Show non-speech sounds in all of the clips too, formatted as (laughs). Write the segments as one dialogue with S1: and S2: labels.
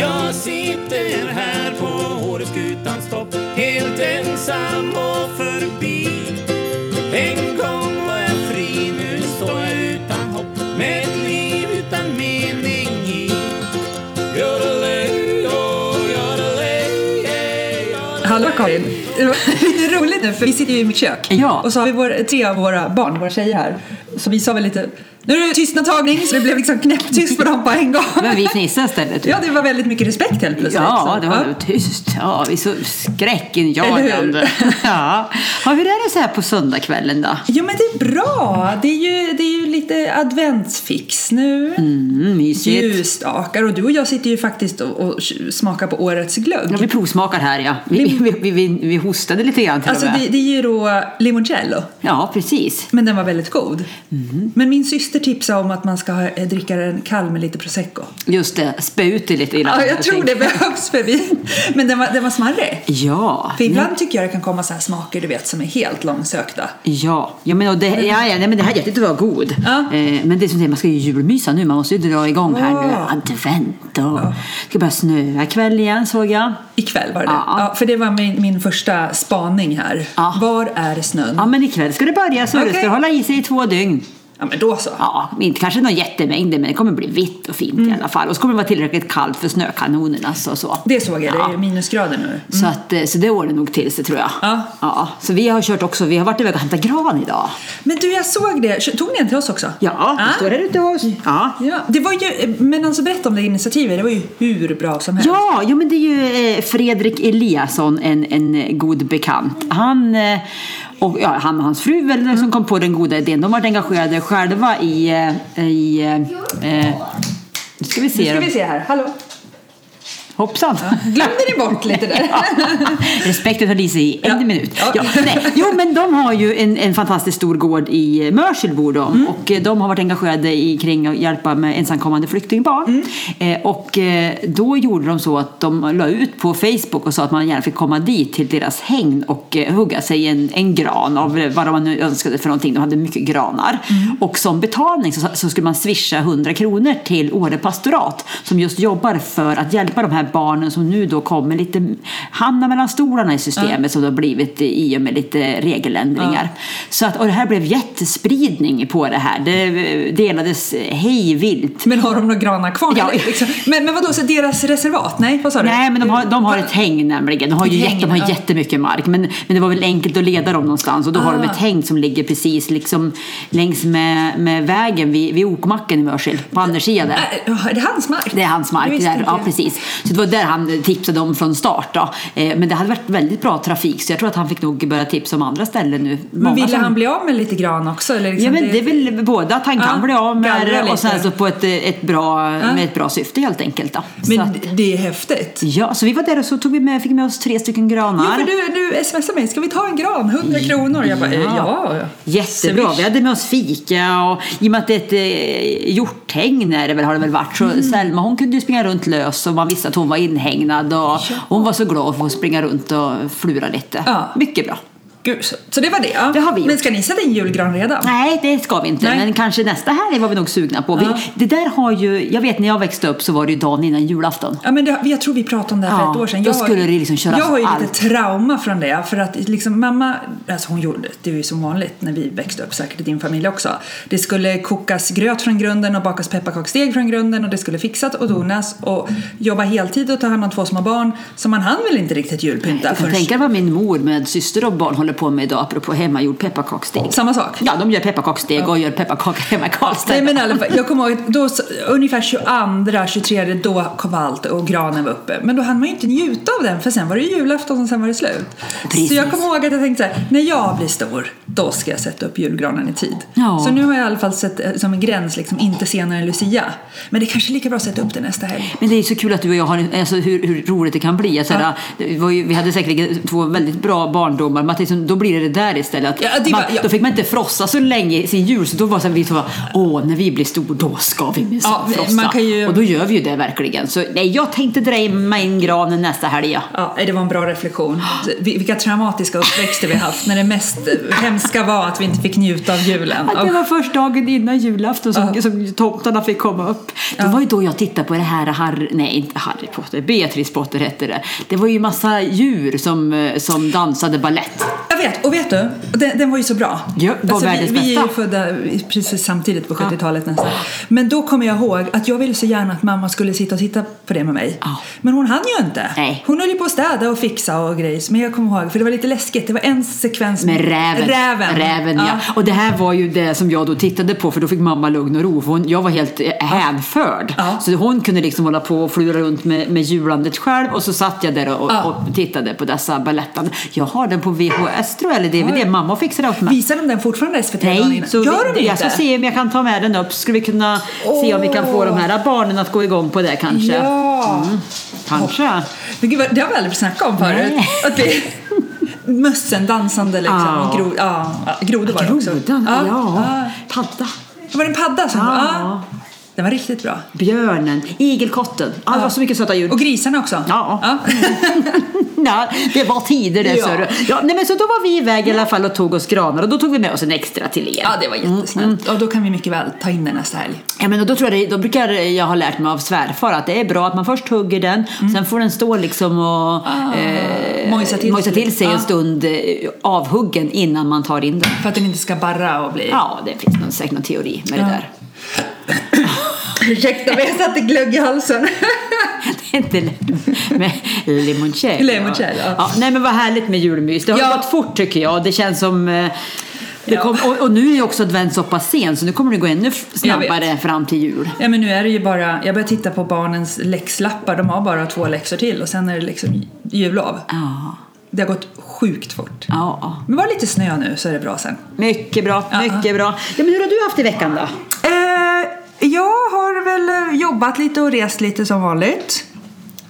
S1: Jag sitter här på Åreskutans topp Helt ensam och förbi En gång var jag fri, nu står jag utan hopp Med ett liv utan mening i Yodelay, oh, yodelay, yeah, yodelay.
S2: Hallå Karin! Det är roligt nu för vi sitter ju i mitt kök.
S3: Ja.
S2: Och så har vi vår, tre av våra barn, våra tjejer här. Så vi sa väl lite, nu är det tystnadtagning så det blev liksom knäpptyst på dem på en gång.
S3: Men vi fnissade istället.
S2: Ja, det var väldigt mycket respekt helt plötsligt.
S3: Ja,
S2: Så,
S3: det var
S2: ja.
S3: tyst. Ja, vi är så
S2: Eller
S3: skräckinjagande. Ja. ja, hur är det så här på söndagskvällen då?
S2: Jo men det är bra! Det är ju, det är ju lite adventsfix nu.
S3: Mm, mysigt.
S2: Ljusstakar och du och jag sitter ju faktiskt och, och smakar på årets glögg.
S3: Ja, vi provsmakar här ja. Vi, vi, vi, vi, vi hostade lite grann till
S2: Alltså
S3: och med.
S2: det, det är ju då limoncello.
S3: Ja, precis.
S2: Men den var väldigt god.
S3: Mm.
S2: Men min syster tipsade om att man ska ha- eh, dricka den kall med lite prosecco.
S3: Just det, spä ut det lite innan.
S2: Ja, jag tror det
S3: tänker.
S2: behövs för vin. Men den var, den var smarrig.
S3: Ja.
S2: För ibland tycker jag det kan komma så här smaker du vet som är helt långsökta.
S3: Ja, ja, men, och det, ja, ja nej, men det här hjärtat var god.
S2: Ja.
S3: Eh, men det är som det, man ska ju julmysa nu. Man måste ju dra igång här nu.
S2: Ja.
S3: Advent och det ska börja snöa ikväll igen såg jag.
S2: Ikväll var det
S3: Ja.
S2: ja, För det var min, min första spaning här.
S3: Ja.
S2: Var är snön?
S3: Ja,
S2: Ja.
S3: men ikväll ska det börja så det
S2: Okej.
S3: ska hålla i sig i två dygn.
S2: men då så.
S3: Ja, inte kanske någon jättemängd men det kommer bli vitt och fint i alla fall. Och så kommer det vara tillräckligt kallt för snökanonerna så och så.
S2: Det såg jag, det är
S3: Ja.
S2: ju minusgrader nu.
S3: Så, att, eh, så det ordnar nog till sig tror jag.
S2: Ja.
S3: Så vi har kört också, vi har varit iväg och hämtat gran idag.
S2: Men du, jag såg det. Kö- Tog ni en till oss också?
S3: Ja, det står här ute hos Ja.
S2: Ja, det var ju, men alltså berätta om det initiativet, det var ju hur bra som helst.
S3: Ja, ja, men det är ju eh, Fredrik Eliasson, en, en eh, god bekant. Han eh, och ja, han och hans fru väl, eh, som kom på den goda idén. De har varit engagerade själva i... eh, i eh, eh, nu ska vi
S2: Nu
S3: se.
S2: ska
S3: då.
S2: vi se här, hallå.
S3: Hoppsan!
S2: Glömde ni bort lite där?
S3: (laughs) Respekten höll i sig i en
S2: Ja.
S3: minut.
S2: Ja.
S3: Ja. nej. Jo, men de har ju en, en fantastiskt stor gård i Mörsil bor de.
S2: Mm.
S3: Och eh, de har varit engagerade i, kring att hjälpa med ensamkommande flyktingbarn.
S2: Mm.
S3: Eh, och eh, då gjorde de så att de la ut på Facebook och sa att man gärna fick komma dit till deras hägn och eh, hugga sig en, en gran av eh, vad de nu önskade för någonting. De hade mycket granar. Och som betalning så, så skulle man swisha 100 kronor till Åre pastorat som just jobbar för att hjälpa de här barnen som nu då kommer lite hamnar mellan stolarna i systemet som det har blivit i och med lite regeländringar. Så att, och det här blev jättespridning på det här. Det eh, delades hej vilt.
S2: Men har de några granar kvar?
S3: Ja.
S2: Eller (laughs) Liksom. Men, men vadå, så deras reservat? Nej, vad sa du?
S3: Nej, men de har, de har ett häng nämligen. De har, ju
S2: Ett
S3: jätte, de
S2: häng,
S3: har
S2: ja.
S3: jättemycket mark. Men, men det var väl enkelt att leda dem någonstans. Och då har de
S2: Ah.
S3: ett häng som ligger precis liksom längs med, med vägen vid, vid okmacken i Mörsil. På andra sidan där.
S2: Äh, ja, Är det hans mark?
S3: Det är hans
S2: Det
S3: mark.
S2: visste
S3: Där.
S2: inte
S3: Ja,
S2: jag.
S3: precis. Så det var där han tipsade om från start. Då. Eh, Men det hade varit väldigt bra trafik så jag tror att han fick nog börja tipsa om andra ställen nu. Många
S2: Men ville
S3: som-
S2: han bli av med lite gran också? Eller liksom
S3: Ja, men det är väl både att han kan
S2: Ja,
S3: bli av med
S2: gallra
S3: det och sen
S2: lite.
S3: så på ett, ett bra, med ett bra syfte helt enkelt. Då. så att,
S2: men det är häftigt.
S3: ja, så vi var där och så tog vi med, fick med oss tre stycken granar.
S2: Ja, för du, du smsade mig, ska vi ta en gran? 100 kronor? Jag bara, eh, ja.
S3: Jättebra. Vi hade med oss fika och i och med att det är ett eh, hjorthägn är det väl, har det väl varit så
S2: Mm.
S3: Selma hon kunde ju springa runt lös och man visste att hon var inhägnad och hon var så glad för att springa runt och flura lite.
S2: Ja.
S3: Mycket bra.
S2: Gud, så, så det var det. ja.
S3: Det har vi
S2: men
S3: gjort.
S2: ska ni sätta in julgran redan?
S3: Nej, det ska vi inte.
S2: Nej.
S3: Men kanske nästa helg var vi nog sugna på. Vi,
S2: Ja.
S3: Det där har ju, jag vet när jag växte upp så var det ju dagen innan julafton.
S2: Ja, men det, jag tror vi pratade om det här för
S3: Ja,
S2: ett år sedan.
S3: då
S2: Jag, har-
S3: skulle det liksom köras
S2: jag har ju
S3: allt.
S2: lite trauma från det. För att liksom, mamma, alltså hon gjorde, det är ju som vanligt när vi växte upp, säkert i din familj också. Det skulle kokas gröt från grunden och bakas pepparkaksdeg från grunden och det skulle fixas och donas och jobba heltid och ta hand om två små barn. Så man hann väl inte riktigt julpynta
S3: Jag
S2: förrän
S3: tänker vad min mor med syster och barn håller på med idag apropå hemmagjord pepparkaksdeg.
S2: samma sak.
S3: Ja, de gör pepparkaksdeg och gör pepparkakor hemma i Karlstad.
S2: Nej men i alla fall, jag kommer ihåg att då, så- ungefär 22, 23 då kom allt och granen var uppe. Men då hann man ju inte njuta av den för sen var det ju julafton och sen var det slut.
S3: Precis.
S2: Så jag kommer ihåg att jag tänkte så här, när jag blir stor då ska jag sätta upp julgranen i tid.
S3: Ja.
S2: Så nu har jag i alla fall sett eh, som en gräns, liksom inte senare än Lucia. Men det är kanske är lika bra att sätta upp det nästa helg.
S3: Men det är ju så kul att du och jag har, alltså hur, hur roligt det kan bli. Alltså, det var ju, vi hade säkerligen två väldigt bra barndomar. Men att liksom, då blir det det där istället. Att
S2: Ja, det är
S3: man,
S2: bara- ja.
S3: Då fick man inte frossa så länge i sin jul, så då var det så här, vi så bara, åh, när vi blir stor då ska vi minsann
S2: Ja,
S3: frossa.
S2: man kan ju-
S3: Och då gör vi ju det verkligen. Så nej, jag tänkte dra in mig i en granen nästa helg. ja.
S2: Ja, det var en bra reflektion. Vi- Vilka traumatiska uppväxter vi har haft när det mest eh, hemska var att vi inte fick njuta av julen.
S3: Att det var först dagen innan julafton som,
S2: Ja.
S3: som tomtarna fick komma upp. Det var ju då jag tittade på det här Harry, nej inte Harry Potter, Beatrice Potter hette det. Det var ju massa djur som, eh, som dansade ballett.
S2: Jag vet, och vet du? Den, den var ju så bra. Alltså,
S3: Ja, var världens
S2: vi, vi är ju
S3: bästa.
S2: födda precis samtidigt på 70-talet nästan. Men då kommer jag ihåg att jag ville så gärna att mamma skulle sitta och titta på det med mig.
S3: Ja.
S2: Men hon hann ju inte.
S3: Nej.
S2: Hon höll ju på att städa och fixa och grejs. Men jag kommer ihåg, för det var lite läskigt. Det var en sekvens
S3: Med räven.
S2: Räven,
S3: ja. Och det här var ju det som jag då tittade på för då fick mamma lugn och ro. För hon, jag var helt eh, hänförd.
S2: Ja.
S3: Så hon kunde liksom hålla på och flura runt med, med julandet själv och så satt jag där och,
S2: Ja.
S3: och tittade på dessa ballettande. Jag har den på VHS tror jag, eller DVD. Mamma fixade åt mig.
S2: Visar de den fortfarande SVT dagen
S3: Nej,
S2: innan?
S3: så
S2: Gör
S3: vi,
S2: de
S3: jag ska
S2: inte?
S3: se om jag kan ta med den upp. Skulle vi kunna se om vi kan få
S2: Åh.
S3: de här barnen att gå igång på det kanske?
S2: Ja.
S3: Mm. Kanske.
S2: Men gud, vad- det har vi aldrig snackat om förut.
S3: Nej.
S2: Att det,
S3: (laughs)
S2: mössen dansande liksom.
S3: Ja.
S2: Och gro, ja, grodor var det också.
S3: Grodan, ja. Padda.
S2: Det var en padda som...
S3: Ja.
S2: Ja. Den var riktigt bra.
S3: Björnen, igelkotten. Ah, Det var så mycket söta djur.
S2: Och grisarna också.
S3: Ja. (laughs) ja, det var tider det
S2: Ja.
S3: ja. ja, nej, men Så då var vi iväg i alla fall och tog oss granar och då tog vi med oss en extra till er.
S2: ja, det var
S3: Mm,
S2: jättesnällt. Och då kan vi mycket väl ta in den nästa helg.
S3: Ja, men då, tror jag det, då brukar jag ha lärt mig av svärfar att det är bra att man först hugger den, sen får den stå liksom och eh,
S2: Mm. Ah. mojsa till Ah. sig.
S3: sig
S2: Ja.
S3: en stund eh, avhuggen innan man tar in den.
S2: För att den inte ska barra och bli...
S3: Ja, det finns någon, säkert någon teori med
S2: Ja.
S3: det där. (laughs)
S2: Ursäkta, men jag satte glögg i halsen.
S3: Det är inte lätt med limoncello.
S2: Limoncello, ja.
S3: ja, nej men vad härligt med julmys. Det har
S2: Ja.
S3: gått fort tycker jag. Det känns som... eh, Det
S2: Ja.
S3: kom, och, och nu är ju också advent så pass sen så nu kommer det gå ännu f-
S2: Jag vet.
S3: snabbare fram till jul.
S2: ja, men nu är det ju bara... Jag börjar titta på barnens läxlappar. De har bara två läxor till och sen är det liksom jullov.
S3: Ja,
S2: Det har gått sjukt fort.
S3: ja, ja.
S2: Men var lite snö nu så är det bra sen.
S3: Mycket bra,
S2: Ja, ja.
S3: mycket bra. Ja, men hur har du haft i veckan då?
S2: Eh, jag har väl eh, jobbat lite och rest lite som vanligt.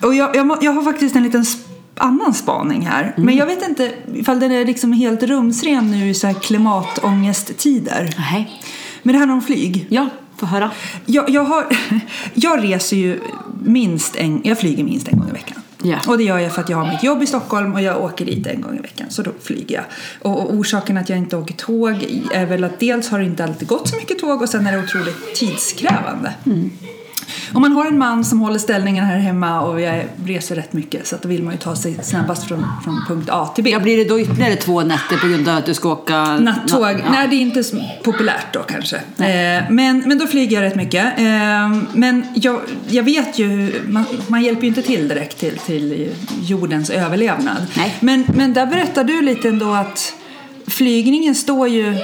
S2: Och jag, jag, må- jag har faktiskt en liten sp- annan spaning här. Men jag vet inte ifall den är liksom helt rumsren nu i så här klimatångesttider.
S3: Nej.
S2: Men det handlar om flyg.
S3: Ja, få höra.
S2: Jag, jag, har, (laughs) jag reser ju minst en, jag flyger minst en gång i veckan.
S3: Ja.
S2: Och det gör jag för att jag har mitt jobb i Stockholm och jag åker dit en gång i veckan. Så då flyger jag. Och, och orsaken att jag inte åker tåg är väl att dels har det inte alltid gått så mycket tåg och sen är det otroligt tidskrävande. Om man har en man som håller ställningen här hemma och jag reser rätt mycket så att då vill man ju ta sig snabbast från, från punkt A till B.
S3: Ja, blir det då ytterligare två nätter på grund av att du ska åka
S2: Nattåg,
S3: natt- ja.
S2: nej det är inte så populärt då kanske. Eh, men, men då flyger jag rätt mycket. Eh, men jag, jag vet ju, hur- man, man hjälper ju inte till direkt till, till jordens överlevnad.
S3: Nej.
S2: Men, men där berättar du lite ändå att flygningen står ju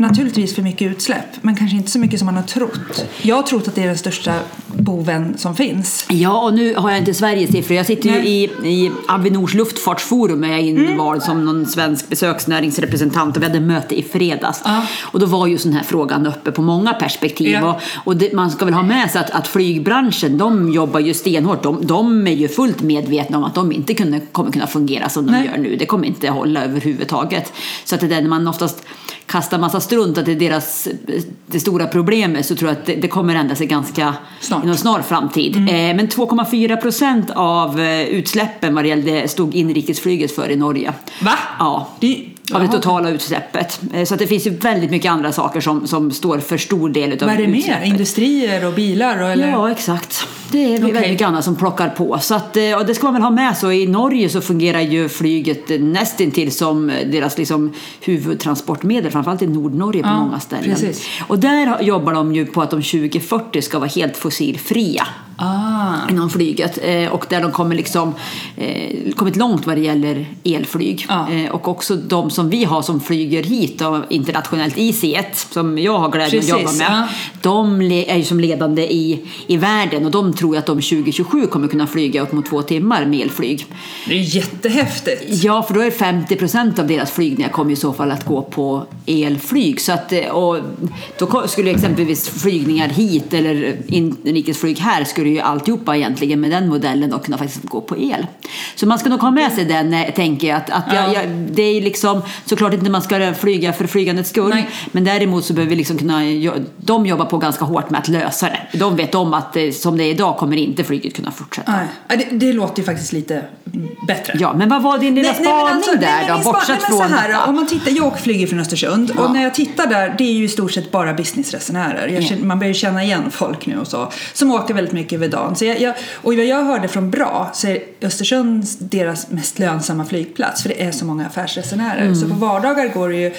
S2: naturligtvis för mycket utsläpp. Men kanske inte så mycket som man har trott. Jag har trott att det är den största boven som finns.
S3: Ja, och nu har jag inte Sveriges siffror. Jag sitter ju i, i Avinors luftfartsforum. Jag är
S2: Mm.
S3: invald som någon svensk besöksnäringsrepresentant och vi hade möte i fredags.
S2: Ja.
S3: Och då var ju sån här frågan uppe på många perspektiv.
S2: Ja.
S3: Och, och det, man ska väl ha med sig att, att flygbranschen, de jobbar ju stenhårt. De, de är ju fullt medvetna om att de inte kunde, kommer kunna fungera som de
S2: Nej.
S3: gör nu. Det kommer inte hålla överhuvudtaget. Så att det där när man oftast kastar massa strunt, att det är deras, eh, det stora problemet, så tror jag att det, det kommer ändra sig ganska
S2: Snart.
S3: inom en snar framtid.
S2: Mm.
S3: Eh, men 2,4 procent av eh, utsläppen vad det gällde stod inrikesflyget för i Norge.
S2: Va?
S3: Ja.
S2: Det-
S3: av det
S2: Jaha.
S3: totala utsläppet. Eh, Så att det finns ju väldigt mycket andra saker som, som står för stor del av
S2: Vad är det mer?
S3: utsläppet.
S2: Industrier och bilar? Och, eller?
S3: Ja, exakt. Det är
S2: Okej.
S3: väldigt mycket annat som plockar på. Så att, eh, och det ska man väl ha med sig. I Norge så fungerar ju flyget eh, nästintill som eh, deras liksom, huvudtransportmedel, framförallt i Nordnorge på
S2: Ja,
S3: många ställen.
S2: precis.
S3: Och där har- jobbar de ju på att de 2040 ska vara helt fossilfria
S2: Ah.
S3: inom flyget eh, och där de kommer liksom, eh, kommit långt vad det gäller elflyg.
S2: Ja.
S3: Eh, och också de som vi har som flyger hit då, internationellt, IC1, som jag har glädjen
S2: Precis,
S3: att jobba med,
S2: ja.
S3: de le- är ju som ledande i, i världen och de tror jag att de 2027 kommer kunna flyga upp mot två timmar med elflyg.
S2: Det är jättehäftigt.
S3: Ja, för då är 50 procent av deras flygningar kommer i så fall att gå på elflyg. Så att, eh, och då ko- skulle exempelvis flygningar hit eller inrikesflyg här skulle ju alltihopa egentligen med den modellen då kunna faktiskt gå på el. Så man ska nog ha med sig den, eh, tänker jag. Att, att jag,
S2: Ja.
S3: jag det är liksom såklart inte man ska flyga för flygandets skull.
S2: Nej.
S3: Men däremot så behöver vi liksom kunna, jo- de jobbar på ganska hårt med att lösa det. De vet om att eh, som det är idag kommer inte flyget kunna fortsätta.
S2: Nej, ja, det, det låter ju faktiskt lite bättre.
S3: Ja, men vad var din lilla
S2: Nej, nej, men
S3: spaning
S2: alltså,
S3: där
S2: nej, men min
S3: då?
S2: spa-
S3: Bortsett
S2: nej, men
S3: från...
S2: Så här, då, om man tittar, jag flyger från Östersund
S3: Ja.
S2: och när jag tittar där, det är ju i stort sett bara businessresenärer. Jag känner, man börjar ju känna igen folk nu och så, som åker väldigt mycket över dagen. Så jag, jag, och vad jag hörde från bra så är Östersund deras mest lönsamma flygplats för det är så många affärsresenärer.
S3: Mm.
S2: Så på vardagar går det ju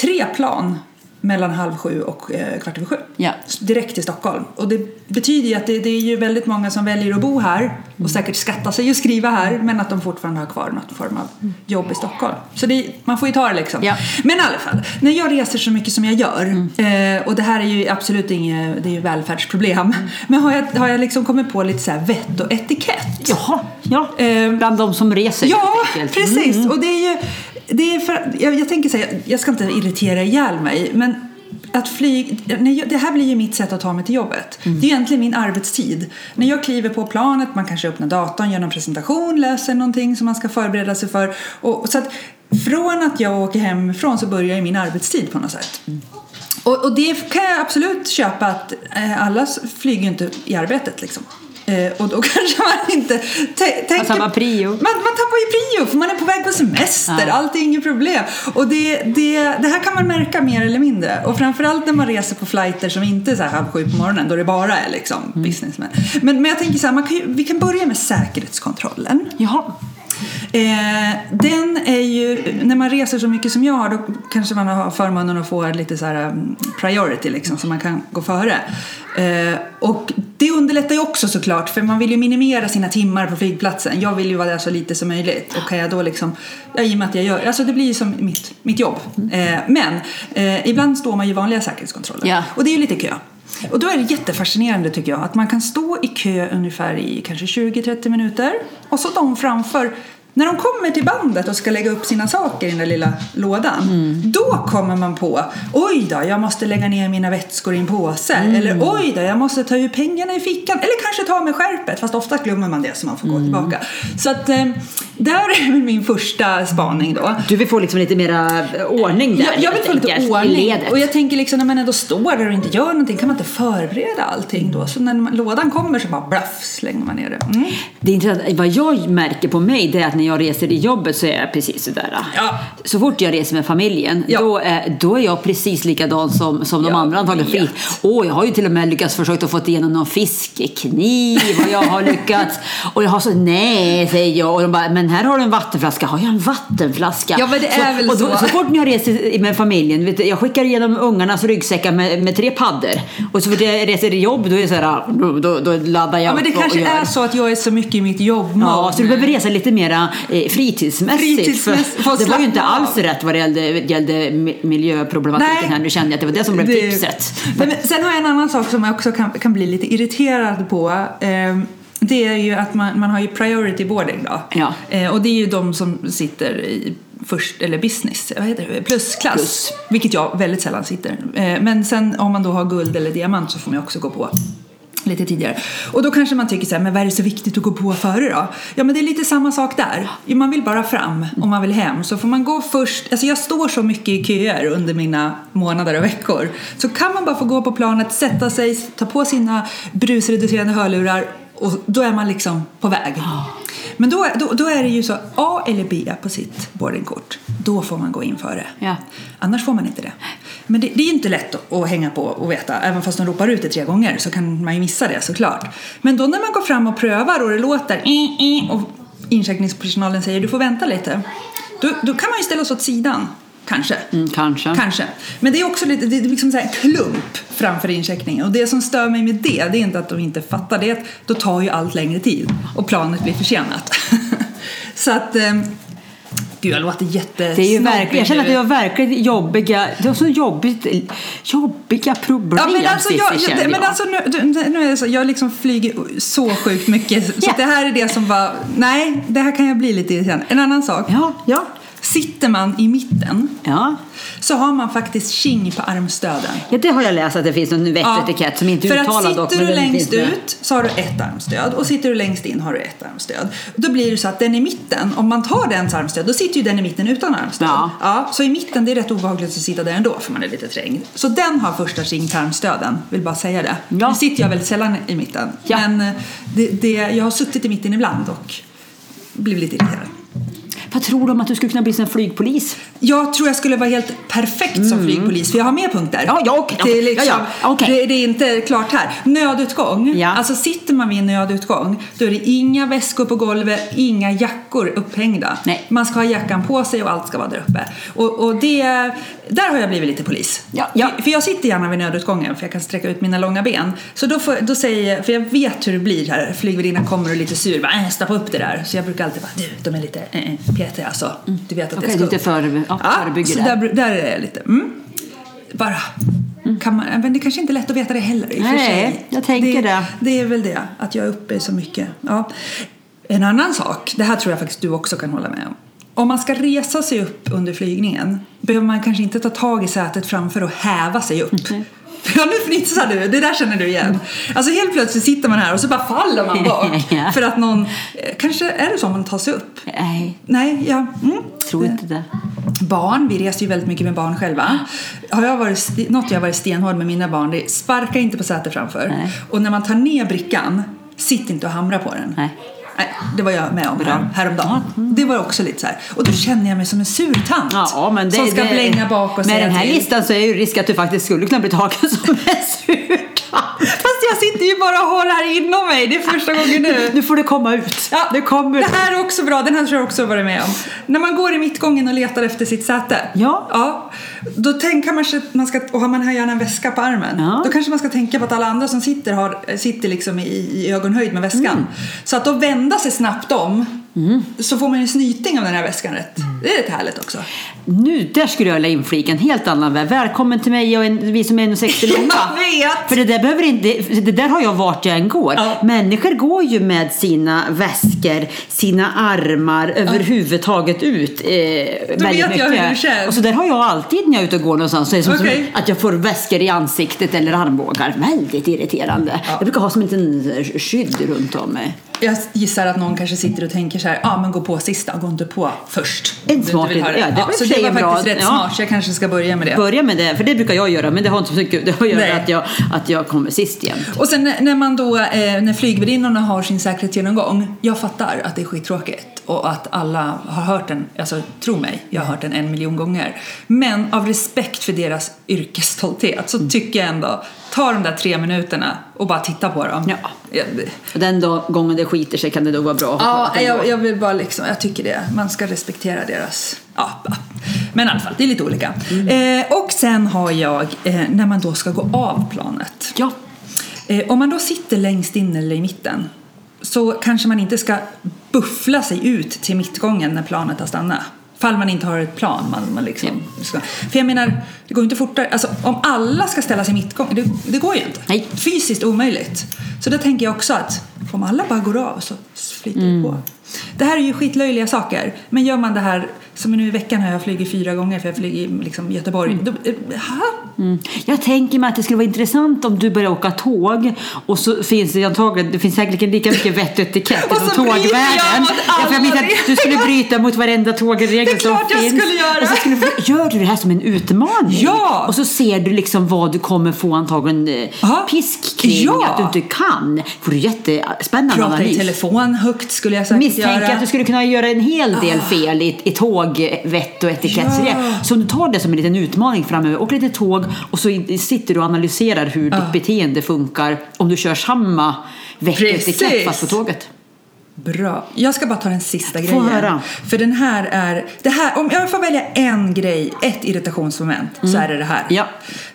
S2: tre plan mellan halv sju och eh, kvart över sju.
S3: Ja.
S2: Direkt till Stockholm. Och det betyder ju att det, det är ju väldigt många som väljer att bo här och säkert skatta sig och skriva här men att de fortfarande har kvar någon form av jobb i Stockholm. Så det, man får ju ta det liksom.
S3: Ja.
S2: Men i alla fall, när jag reser så mycket som jag gör eh, och det här är ju absolut inget, det är ju välfärdsproblem men har jag, har jag liksom kommit på lite så här vett och etikett?
S3: Jaha, ja.
S2: Ehm,
S3: Bland de som reser
S2: Ja,
S3: helt enkelt. Mm.
S2: precis. Och det är ju, det är för, jag, jag tänker säga, jag ska inte irritera ihjäl mig, men att flyg, när jag, det här blir ju mitt sätt att ta mig till jobbet.
S3: Mm.
S2: Det är egentligen min arbetstid. När jag kliver på planet, man kanske öppnar datorn, gör någon presentation, läser någonting som man ska förbereda sig för. Och, så att från att jag åker hemifrån så börjar ju min arbetstid på något sätt.
S3: Mm.
S2: Och, och det kan jag absolut köpa att eh, alla s- flyger ju inte i arbetet liksom. Eh, och då (laughs) kanske man inte tä- tänker...
S3: samma Alltså, prio.
S2: Man, man tappar ju prio för man är på väg på semester.
S3: Ja.
S2: Allt är inget problem. Och det, det, det här kan man märka mer eller mindre. Och framförallt när man reser på flighter som inte är så här halv sju på morgonen då det bara är liksom businessmen. Men, men jag tänker så här, man kan ju, vi kan börja med säkerhetskontrollen.
S3: Jaha.
S2: Eh, den är ju, när man reser så mycket som jag har då kanske man har förmånen att få lite så här mm, priority liksom så man kan gå före. Eh, och det underlättar ju också såklart för man vill ju minimera sina timmar på flygplatsen. Jag vill ju vara där så lite som möjligt och kan jag då liksom, ja, i och med att jag gör, alltså det blir ju som mitt, mitt jobb. Eh, men eh, ibland står man ju i vanliga säkerhetskontroller
S3: Ja.
S2: och det är ju lite kö. Och då är det jättefascinerande tycker jag att man kan stå i kö ungefär i kanske 20-30 minuter och så de framför när de kommer till bandet och ska lägga upp sina saker i den där lilla lådan då kommer man på oj då, jag måste lägga ner mina vätskor i en påse eller oj då, jag måste ta ur pengarna i fickan eller kanske ta med skärpet fast ofta glömmer man det så man får gå tillbaka. Så att eh, där är väl min första spaning då.
S3: Du vill få liksom lite mera ordning där
S2: Jag, jag vill
S3: helt
S2: få lite
S3: enkelt,
S2: ordning.
S3: i ledet.
S2: Och jag tänker liksom när man ändå står där och inte gör någonting kan man inte förbereda allting då? Så när man, lådan kommer så bara blaff slänger man ner det. Mm.
S3: Det är intressant. Vad jag märker på mig det är att när jag reser i jobbet så är jag precis sådär. eh,
S2: Ja.
S3: Så fort jag reser med familjen
S2: Ja.
S3: då, är, då är jag precis likadan som, som de
S2: Jag
S3: andra antagligen.
S2: vet.
S3: Fri. Åh, jag har ju till och med lyckats försökt att få igenom någon fiskekniv och jag har lyckats. Och jag har så nej, säger jag. Och de bara, men här har du en vattenflaska. Har jag en vattenflaska?
S2: Ja, men det är väl
S3: och då,
S2: så.
S3: så fort jag reser med familjen, vet du, jag skickar igenom ungarnas ryggsäckar med, med tre paddor. Och så fort jag reser i jobb då är det så här, då, då, då laddar jag
S2: Ja, men det
S3: upp och
S2: kanske
S3: gör.
S2: är så att jag är så mycket i mitt jobb
S3: Ja, så du behöver resa lite mera eh, fritidsmässigt.
S2: Fritidsmässigt, få
S3: för det var
S2: slappna
S3: ju inte
S2: av.
S3: alls rätt vad det gällde, gällde mi- miljöproblematiken
S2: Nej.
S3: här. Nu kände jag att det var det som blev tipset.
S2: Nej, men sen har jag en annan sak som jag också kan, kan bli lite irriterad på. Ehm, det är ju att man, man har ju priority boarding då.
S3: Ja.
S2: Eh, och det är ju de som sitter i först, eller business, eh, vad heter det, plusklass.
S3: Plus.
S2: Vilket jag väldigt sällan sitter. Eh, men sen om man då har guld eller diamant så får man ju också gå på lite tidigare. Och då kanske man tycker så här, men vad är det så viktigt att gå på före då? Ja men det är lite samma sak där. Jo, Man vill bara fram och man vill hem. Så får man gå först, alltså jag står så mycket i köer under mina månader och veckor. Så kan man bara få gå på planet, sätta sig, ta på sina brusreducerande hörlurar och då är man liksom på väg. Men då, då, då är det ju så, A eller B på sitt boardingkort, då får man gå in före.
S3: Ja.
S2: Annars får man inte det. Men det, det är ju inte lätt att- att hänga på och veta. Även fast de ropar ut det tre gånger så kan man ju missa det såklart. Men då när man går fram och prövar och det låter "Eh, eh", och incheckningspersonalen säger du får vänta lite. Då, då kan man ju ställa sig åt sidan. Kanske.
S3: Mm, kanske.
S2: Kanske. Men det är också lite, det är liksom så här klump framför incheckningen. Och det som stör mig med det, det är inte att de inte fattar det. Då (laughs) tar ju allt längre tid och planet blir försenat. så att... ehm, Gud, jag låter jättesnobbig
S3: Det är ju verkligen, jag känner att
S2: nu.
S3: det var verkligen jobbiga, det var så jobbigt, jobbiga problem
S2: Ja, men alltså,
S3: Cissi,
S2: jag, jag,
S3: kände
S2: det- men alltså nu, du- nu är det så, jag liksom flyger så sjukt mycket. Så
S3: Ja.
S2: att det här är det som var, nej, det här kan jag bli lite irriterad. En annan sak.
S3: Ja, ja.
S2: Sitter man i mitten
S3: Ja.
S2: så har man faktiskt king på armstöden.
S3: ja, det har jag läst att det finns någon vett
S2: Ja.
S3: etikett som inte
S2: För
S3: uttalar
S2: att sitter
S3: dock. men
S2: du
S3: den
S2: längst
S3: finns med.
S2: ut så har du ett armstöd och sitter du längst in har du ett armstöd. Då blir det så att den i mitten, om man tar dens armstöd, då sitter ju den i mitten utan armstöd.
S3: Ja.
S2: så i mitten, det är rätt obehagligt att sitta där ändå för man är lite trängd. Så den har första ringtarmstöden, vill bara säga det.
S3: Ja.
S2: Nu sitter jag väldigt sällan i mitten,
S3: Ja.
S2: men eh, det, det, jag har suttit i mitten ibland och blivit lite irriterad.
S3: Vad tror du om att du skulle kunna bli sån här flygpolis?
S2: Jag tror jag skulle vara helt perfekt som flygpolis för jag har mer punkter.
S3: Mm. Ja, ja, okej,
S2: det, är
S3: okej,
S2: liksom,
S3: ja, ja, okej.
S2: det, det är inte klart här. Nödutgång.
S3: Ja.
S2: Alltså sitter man vid en nödutgång då är det inga väskor på golvet, inga jackor upphängda.
S3: Nej.
S2: Man ska ha jackan på sig och allt ska vara där uppe. Och, och det, där har jag blivit lite polis.
S3: Ja, ja.
S2: För, för jag sitter gärna vid nödutgången för jag kan sträcka ut mina långa ben. Så då, får, då säger jag, för jag vet hur det blir här. Flygvärdinnan kommer och är lite sur. Bara, äh, stoppa upp det där. Så jag brukar alltid bara, du, de är lite äh, äh, petiga alltså.
S3: Mm.
S2: Du vet att
S3: Okej,
S2: det ska
S3: lite
S2: upp."
S3: före- ja, förebygger
S2: så
S3: det.
S2: där, bru- där är jag lite. Mm. Bara. Kan man, men det kanske inte är lätt att veta det heller. I och för
S3: Mm. Nej,
S2: sig.
S3: jag tänker det.
S2: Det är väl det, att jag är uppe så mycket. Ja. En annan sak, det här tror jag faktiskt du också kan hålla med om. Om man ska resa sig upp under flygningen behöver man kanske inte ta tag i sätet framför och häva sig upp. (laughs) Ja, nu fnissar du, det där känner du igen. Alltså helt plötsligt sitter man här och så bara faller man bak.
S3: (laughs) Ja.
S2: För att någon, eh, kanske är det så man tar sig upp?
S3: Nej,
S2: Nej, ja. Mm.
S3: tror inte det.
S2: Barn, vi reser ju väldigt mycket med barn själva. Har jag varit, sti- något jag har varit stenhård med mina barn det är sparka inte på sätet framför.
S3: Nej.
S2: Och när man tar ner brickan, sitt inte och hamra på den.
S3: Nej. Mm.
S2: Nej, det var jag med om här, häromdagen. Det var också lite så här. Och då känner jag mig som en surtant
S3: Ja, men det,
S2: som ska
S3: det,
S2: blänga bak och
S3: Med
S2: säga
S3: den här
S2: till.
S3: listan så är ju risk att du faktiskt skulle kunna bli tagen som en surtant.
S2: Fast jag sitter ju bara och har det här inom mig. Det är första gången nu.
S3: Nu får du komma ut.
S2: Ja,
S3: du kommer
S2: Det här är också bra, den här tror jag också har varit med om. När man går i mittgången och letar efter sitt säte.
S3: Ja.
S2: ja då tänker man sig att man ska, och har man här gärna en väska på armen.
S3: Ja.
S2: Då kanske man ska tänka på att alla andra som sitter har, sitter liksom i, i ögonhöjd med väskan.
S3: Mm.
S2: Så att då vända sig snabbt om. Så får man ju en snyting av den här väskan rätt.
S3: Mm.
S2: Det är lite härligt också.
S3: Nu, där skulle jag vilja inflika en helt annan värld. Välkommen till mig och en, vi som är 1,60 långa.
S2: Jag vet.
S3: För det där, behöver inte, det där har jag vart jag än går.
S2: Ja.
S3: Människor går ju med sina väskor, sina armar överhuvudtaget ut. Eh, väldigt
S2: vet jag
S3: mycket.
S2: hur du känner.
S3: Och så där har jag alltid när jag är ute och går någonstans. Så är det som,
S2: Okej.
S3: som att jag får väskor i ansiktet eller armbågar. Väldigt irriterande. Jag brukar ha som en liten eh, skydd runt om mig.
S2: Jag gissar att någon kanske sitter och tänker så här, ja ah, men gå på sista, gå inte på först.
S3: En
S2: Om du
S3: smart
S2: inte vill ha
S3: idé. Ja, det var i och
S2: så
S3: för
S2: det
S3: sig
S2: var
S3: en bra-
S2: faktiskt rätt
S3: ja.
S2: smart, så jag kanske ska börja med det.
S3: Börja med det, för det brukar jag göra. Men det har inte så mycket det har att göra
S2: Nej.
S3: att jag, att jag kommer sist igen.
S2: Och sen när man då, eh, när flygvärdinnorna har sin säkerhetsgenomgång, jag fattar att det är skittråkigt och att alla har hört den, alltså tro mig, jag har hört den en miljon gånger. Men av respekt för deras yrkesstolthet så tycker jag ändå, ta de där tre minuterna och bara titta på dem.
S3: Ja.
S2: Jag,
S3: Och den dag, gången det skiter sig kan det då vara bra att ha
S2: ja,
S3: den
S2: jag,
S3: då.
S2: jag vill bara liksom, jag tycker det, man ska respektera deras, ja. ja. Men i alla fall, det är lite olika. Eh, och sen har jag, eh, när man då ska gå av planet.
S3: ja.
S2: Eh, om man då sitter längst in eller i mitten så kanske man inte ska buffla sig ut till mittgången när planet har stannat. Fall man inte har ett plan. Man, man liksom ska. För jag menar, det går ju inte fortare. Alltså, om alla ska ställa sig i mittgång, det, det går ju inte.
S3: Nej.
S2: Fysiskt omöjligt. Så då tänker jag också att om alla bara går av så flyter det på.
S3: Mm.
S2: Det här är ju skitlöjliga saker. Men gör man det här, som nu i veckan har jag flugit fyra gånger för jag flyger i liksom, Göteborg. Då, eh, ha?
S3: Mm. Jag tänker mig att det skulle vara intressant om du börjar åka tåg och så finns det antagligen, det finns säkerligen lika
S2: (laughs)
S3: mycket vett och etikett
S2: Och
S3: som
S2: så bryter jag
S3: tågvärlden.
S2: mot
S3: Ja, för jag minns
S2: alla
S3: att du skulle bryta mot varenda
S2: Det
S3: tågregel
S2: är
S3: som
S2: klart jag
S3: finns.
S2: skulle göra.
S3: Och så skulle, du- gör du det här som en utmaning?
S2: Ja.
S3: Och så ser du liksom vad du kommer få antagligen eh,
S2: Ja.
S3: pisk kring
S2: Ja.
S3: att du inte kan. Får du jättespännande
S2: Prata i
S3: analys.
S2: telefon högt skulle jag säkert
S3: misstänker
S2: göra. Ah.
S3: att du skulle kunna göra en hel del fel i, i tågvett och etikettsregler.
S2: Ja.
S3: Så om du tar det som en liten utmaning framöver, åk lite tåg och så i- sitter du och analyserar hur
S2: Ah.
S3: ditt beteende funkar om du kör samma vett och etikett
S2: Precis.
S3: fast på tåget.
S2: Bra. Jag ska bara ta den sista
S3: Få
S2: grejen.
S3: höra.
S2: För den här är... Det här, om jag får välja en grej, ett irritationsmoment, så är det det här.
S3: Mm. Ja.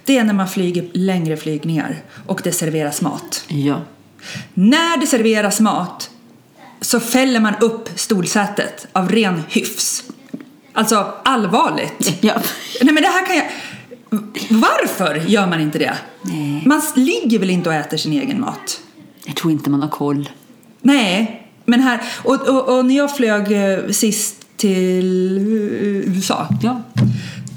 S2: Det är när man flyger längre flygningar och det serveras mat.
S3: Ja.
S2: När det serveras mat så fäller man upp stolsätet av ren hyfs. Alltså allvarligt.
S3: Ja.
S2: Nej men det här kan jag... Varför gör man inte det?
S3: Nej.
S2: Man s- ligger väl inte och äter sin egen mat?
S3: Jag tror inte man har koll.
S2: Nej, men här... Och, och, och när jag flög eh, sist till eh, USA.
S3: Ja.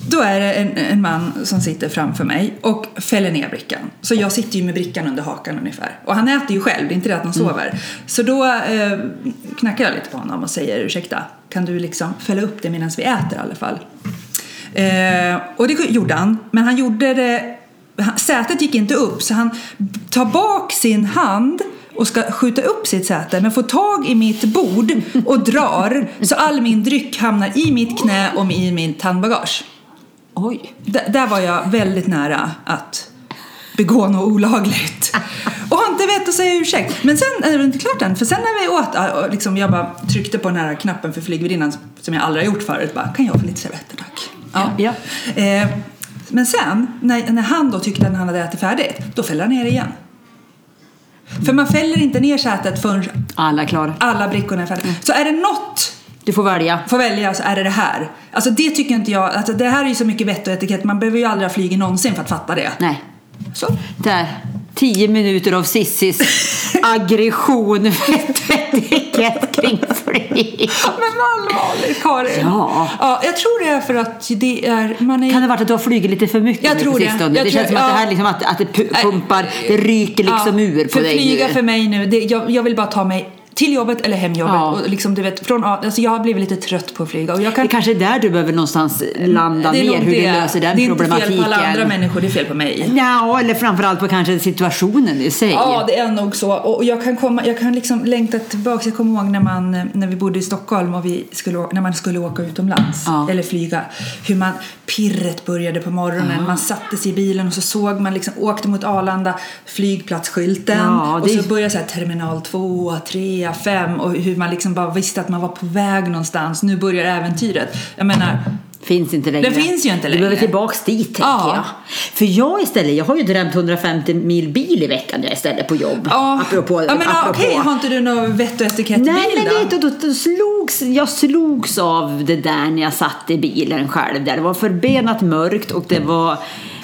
S2: Då är det en, en man som sitter framför mig och fäller ner brickan. Så jag sitter ju med brickan under hakan ungefär. Och han äter ju själv, det är inte det att han sover. Så då eh, knackar jag lite på honom och säger ursäkta, kan du liksom fälla upp det medan vi äter i alla fall? Eh, och det gjorde han, men han gjorde det... Han, sätet gick inte upp så han tar bak sin hand och ska skjuta upp sitt säte men får tag i mitt bord och drar så all min dryck hamnar i mitt knä och i min handbagage.
S3: Oj.
S2: D- där var jag väldigt nära att begå något olagligt. Och har inte vett att säga ursäkt. Men sen är det inte klart än. För sen när vi åt, äh, och liksom, jag bara tryckte på den här knappen för flygvärdinnan som jag aldrig har gjort förut. Bara, kan jag få lite servetter tack?
S3: Ja.
S2: Eh, men sen, när, när han då tyckte att han hade ätit färdigt, då fäller han ner igen. För man fäller inte ner sätet förrän
S3: Alla är klara.
S2: alla brickorna är färdiga. Så är det något
S3: Du får välja.
S2: får välja så är det det här. Alltså det tycker inte jag, alltså det här är ju så mycket vett och etikett, man behöver ju aldrig ha flugit någonsin för att fatta det.
S3: Nej.
S2: Så.
S3: Där. Tio minuter
S2: (laughs)
S3: av Sissis aggression etikett kring flyg.
S2: Men allvarligt Karin!
S3: Ja.
S2: ja! Jag tror det är för att det är, man är
S3: Kan det ha varit att du har flugit lite för mycket
S2: Jag
S3: nu
S2: tror
S3: på
S2: det.
S3: sistone?
S2: Jag
S3: det
S2: tror-
S3: känns som att det här
S2: ja.
S3: liksom att, att det pu-
S2: Nej.
S3: pumpar, det ryker liksom
S2: Ja,
S3: ur på
S2: för
S3: dig
S2: flyga
S3: nu.
S2: för mig nu, det, jag, jag vill bara ta mig till jobbet eller hem jobbet.
S3: Ja.
S2: Och liksom, du vet, från, A- alltså jag har blivit lite trött på att flyga och jag
S3: Det
S2: kan
S3: kanske är där du behöver någonstans landa
S2: är
S3: ner,
S2: nog
S3: hur du löser den
S2: Det är inte
S3: problematiken.
S2: fel på alla andra människor, det är fel på mig.
S3: Ja, eller framförallt på kanske situationen i sig.
S2: Ja, det är nog så. Och jag kan, komma, jag kan liksom längta tillbaka. Jag kommer ihåg när, man, när vi bodde i Stockholm och vi skulle, å- när man skulle åka utomlands
S3: Ja.
S2: eller flyga. Hur man, pirret började på morgonen. Man satte sig i bilen och så såg man, liksom, åkte mot Arlanda, flygplatsskylten.
S3: Ja,
S2: Och
S3: det-
S2: så började så här, terminal 2, 3, 5 och hur man liksom bara visste att man var på väg någonstans. Nu börjar äventyret. Jag menar,
S3: Finns inte längre.
S2: Det finns ju inte
S3: Du behöver
S2: längre.
S3: tillbaks dit tänker
S2: Ja.
S3: jag. För jag istället, jag har ju drömt 150 mil bil i veckan när jag istället på jobb.
S2: ja.
S3: Apropå,
S2: ja, men,
S3: apropå.
S2: Okej, har inte du någon vett och etikettbil
S3: Nej, men
S2: då?
S3: vet du, då, då slogs, jag slogs av det där när jag satt i bilen själv. Där. Det var förbenat mörkt och det var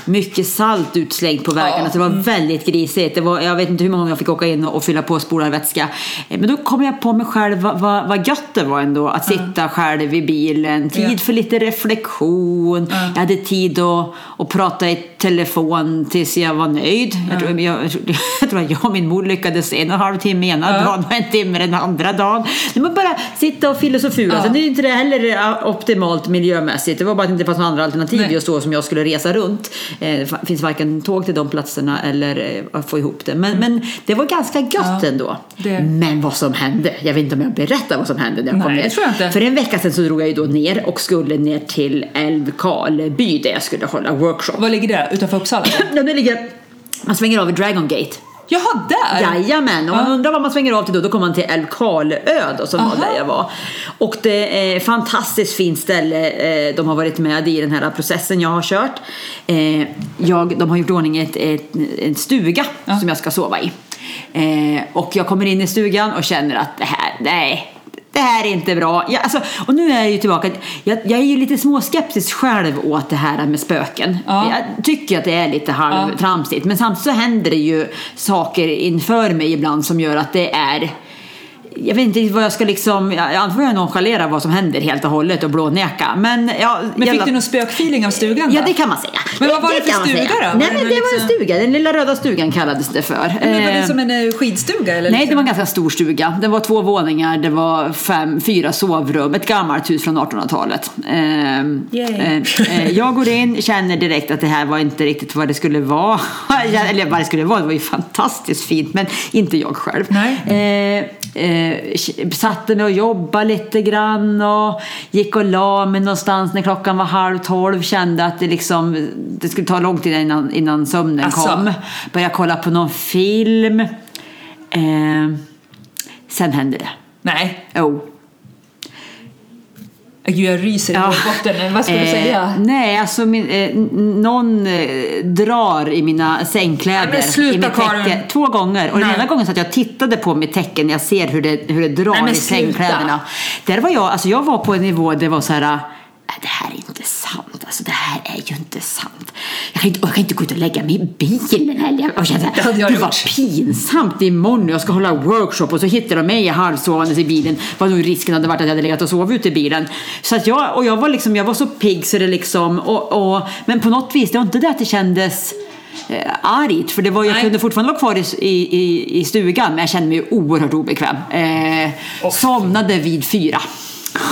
S3: mycket salt utslängt på vägarna.
S2: Ja.
S3: Så det var väldigt grisigt. Det var, jag vet inte hur många gånger jag fick åka in och, och fylla på spolad vätska. Eh, Men då kom jag på mig själv vad, vad, vad gött det var ändå att sitta själv i bilen. Tid
S2: Ja.
S3: för lite reflektion. Jag hade tid att, att prata i telefon tills jag var nöjd. Jag, tror, jag, jag tror att jag och min mor lyckades en och en halv timme ena dagen och en timme den andra dagen. Det var bara sitta och filosofera. Sen är ju inte det heller eh, optimalt miljömässigt. Det var bara att det inte fanns några andra alternativ
S2: Nej.
S3: just då som jag skulle resa runt. Eh, Det fa- finns varken tåg till de platserna eller eh, att få ihop det. Men, men det var ganska gött ändå.
S2: Mm. det-
S3: Men vad som hände, jag vet inte om jag berättar vad som hände när jag
S2: Nej,
S3: kom
S2: det
S3: ner.
S2: tror jag inte.
S3: För en vecka sedan så drog jag ju då ner och skulle ner till Älvkarleby där jag skulle hålla workshop.
S2: Var ligger det? Utanför Uppsala?
S3: Ja, nu ligger, man svänger av i Dragon Gate.
S2: Jaha, där!
S3: Jajamän, om man
S2: Ja.
S3: undrar vad man svänger av till då, då kommer man till Älvkarleö då som
S2: Aha.
S3: var där jag var. Och det är ett fantastiskt fint ställe. Eh, De har varit med i den här processen jag har kört. Eh, Jag, de har gjort i ordning ett, ett, en stuga som jag ska sova i. Eh, Och jag kommer in i stugan och känner att det här, nej. Det här är inte bra. Jag, alltså, och nu är jag ju tillbaka. Jag, jag är ju lite småskeptisk själv åt det här med spöken.
S2: Ja.
S3: Jag, tycker att det är lite halvtramsigt. Men samtidigt så händer det ju saker inför mig ibland som gör att det är jag vet inte vad jag ska liksom, jag jag antar jag nonchalerar vad som händer helt och hållet och blåneka. Men, ja,
S2: Men
S3: jävla-
S2: fick du någon spökfeeling av stugan då?
S3: Ja, det kan man säga.
S2: Men vad var det för
S3: kan man
S2: stuga
S3: säga.
S2: då?
S3: Nej,
S2: Var
S3: men
S2: det
S3: det var en
S2: liksom-
S3: stuga. Den lilla röda stugan kallades det för.
S2: Men var
S3: Eh,
S2: det som en eh, skidstuga eller?
S3: Nej, det
S2: liksom?
S3: var en ganska stor stuga. Det var två våningar, det var fem, fyra sovrum, ett gammalt hus från 1800-talet. Ehm,
S2: Yay.
S3: eh, eh, jag går in, känner direkt att det här var inte riktigt vad det skulle vara. (laughs) Jag- Eller vad det skulle vara, det var ju fantastiskt fint, men inte jag själv.
S2: Nej.
S3: Eh, eh, satte mig och jobbade lite grann och gick och la mig någonstans när klockan var halv tolv. Kände att det, liksom, det skulle ta lång tid innan, innan sömnen
S2: Asså.
S3: kom. Började kolla på någon film. Eh, sen hände det.
S2: Nej. Äh,
S3: Oh.
S2: Gud, jag ryser i botten. Men Vad skulle du
S3: Eh,
S2: säga?
S3: Nej, alltså min, eh, n- någon eh, drar i mina sängkläder.
S2: Nej, men sluta,
S3: i mitt
S2: Karin.
S3: täcke, Två gånger. Och
S2: Nej.
S3: den ena gången så att jag tittade på mitt täcke när jag ser hur det, hur det drar
S2: Nej, men
S3: i
S2: sluta.
S3: sängkläderna. Där var jag, alltså jag var på en nivå där det var så här. "Nej, det här är inte sant. Alltså, det här är ju inte sant. Jag kan inte, jag kan inte gå ut och lägga mig i bilen heller. Och känna,
S2: Det hade jag
S3: Gud vad
S2: gjort."
S3: pinsamt imorgon jag ska hålla workshop och så hittar de mig halvsovandes i bilen. Vad nu risken hade varit att jag hade legat och sovit ute i bilen. Så att jag, och jag var liksom, jag var så pigg så det liksom, och, och, men på något vis, det var inte det att det kändes eh, argt, för det var, jag
S2: Nej.
S3: kunde fortfarande vara kvar i, i, i- i stugan, men jag kände mig ju oerhört obekväm. Eh, somnade vid fyra.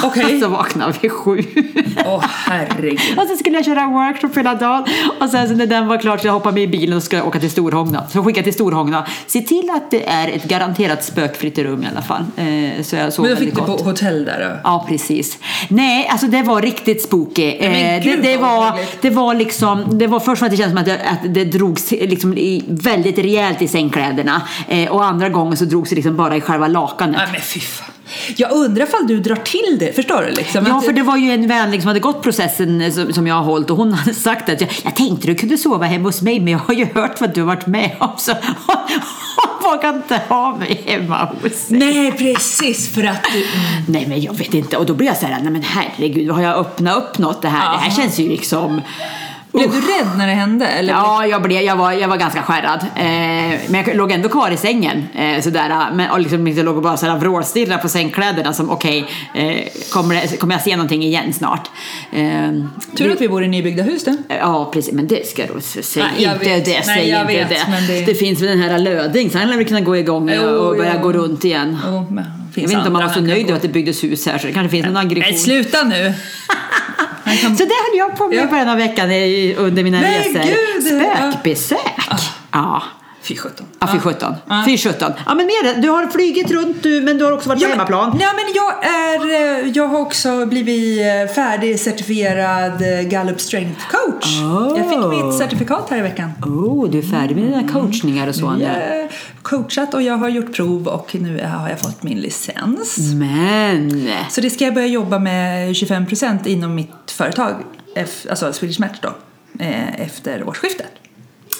S2: Okej.
S3: (laughs) Så vaknade vid sju.
S2: Åh herregud.
S3: Och sen skulle jag köra workshop hela dagen. Och sen så när den var klar så jag hoppade med i bilen och skulle åka till Storhågna. Så jag skickade till Storhågna. Se till att det är ett garanterat spökfritt rum i alla fall. Eh, så jag sov
S2: Men jag
S3: väldigt
S2: fick det
S3: gott.
S2: på hotell där då.
S3: Ja, precis. Nej, alltså det var riktigt spooky.
S2: men
S3: Eh,
S2: gud,
S3: det, det,
S2: vad
S3: var,
S2: obehagligt.
S3: det var liksom, det var först för att det kändes som att det, att det drogs liksom i, väldigt rejält i sängkläderna. Eh, och andra gången så drogs det liksom bara i själva lakanet.
S2: Nej men fy fan. Jag undrar ifall du drar till det, förstår du? Liksom,
S3: Ja,
S2: att-
S3: för det var ju en vän liksom som hade gått processen eh, som, som jag har hållit och hon hade sagt att jag, jag tänkte du kunde sova hemma hos mig men jag har ju hört vad du har varit med om så (laughs) hon vågar inte ha mig hemma hos sig.
S2: Nej precis, för att du...
S3: Nej men jag vet inte och då blir jag så här, nej men herregud vad har jag öppnat upp något det här? Det här
S2: Ja.
S3: känns ju liksom
S2: Blev du rädd när det hände? Eller?
S3: Ja, jag, blev, jag, var, jag var ganska skärrad. Eh, men jag låg ändå kvar i sängen. Eh, sådär, men, och liksom, jag låg och bara sådär, vrålstirrade på sängkläderna som okej, eh, kommer, det- kommer jag se någonting igen snart? Eh,
S2: Tur att vi bor i nybyggda hus då.
S3: Ja, precis. Men det ska du säga
S2: Nej, jag
S3: inte
S2: vet.
S3: det.
S2: Nej,
S3: Säg
S2: jag
S3: inte
S2: vet, men
S3: det.
S2: det-
S3: det finns väl den här löding, så han lär väl kunna gå igång
S2: Jo,
S3: och börja
S2: jo.
S3: gå runt igen.
S2: Jo, men
S3: Jag
S2: finns
S3: vet inte om
S2: andra
S3: han var så
S2: kan
S3: nöjd
S2: gå.
S3: över att det byggdes hus här så det kanske finns någon aggression.
S2: Nej sluta
S3: (laughs)
S2: nu! Han kan...
S3: Så det höll jag på med
S2: Ja.
S3: i början av veckan i- under mina
S2: Nej,
S3: resor.
S2: gud!
S3: Spökbesök! Ja.
S2: Fy sjutton.
S3: Ja, fy sjutton.
S2: Ja.
S3: Fy sjutton. Ja, men mer. Du har flugit runt du, men du har också varit på
S2: men-
S3: hemmaplan.
S2: Nej, men jag, är, eh, jag har också blivit eh, färdigcertifierad eh, Gallup Strength Coach.
S3: Oh.
S2: Jag fick mitt certifikat här i veckan.
S3: Oh, du är färdig med dina coachningar och så.
S2: Jag
S3: Yeah.
S2: har coachat och jag har gjort prov och nu har jag fått min licens.
S3: Men!
S2: Så det ska jag börja jobba med 25% inom mitt företag, F- alltså Swedish Match då, eh, efter årsskiftet.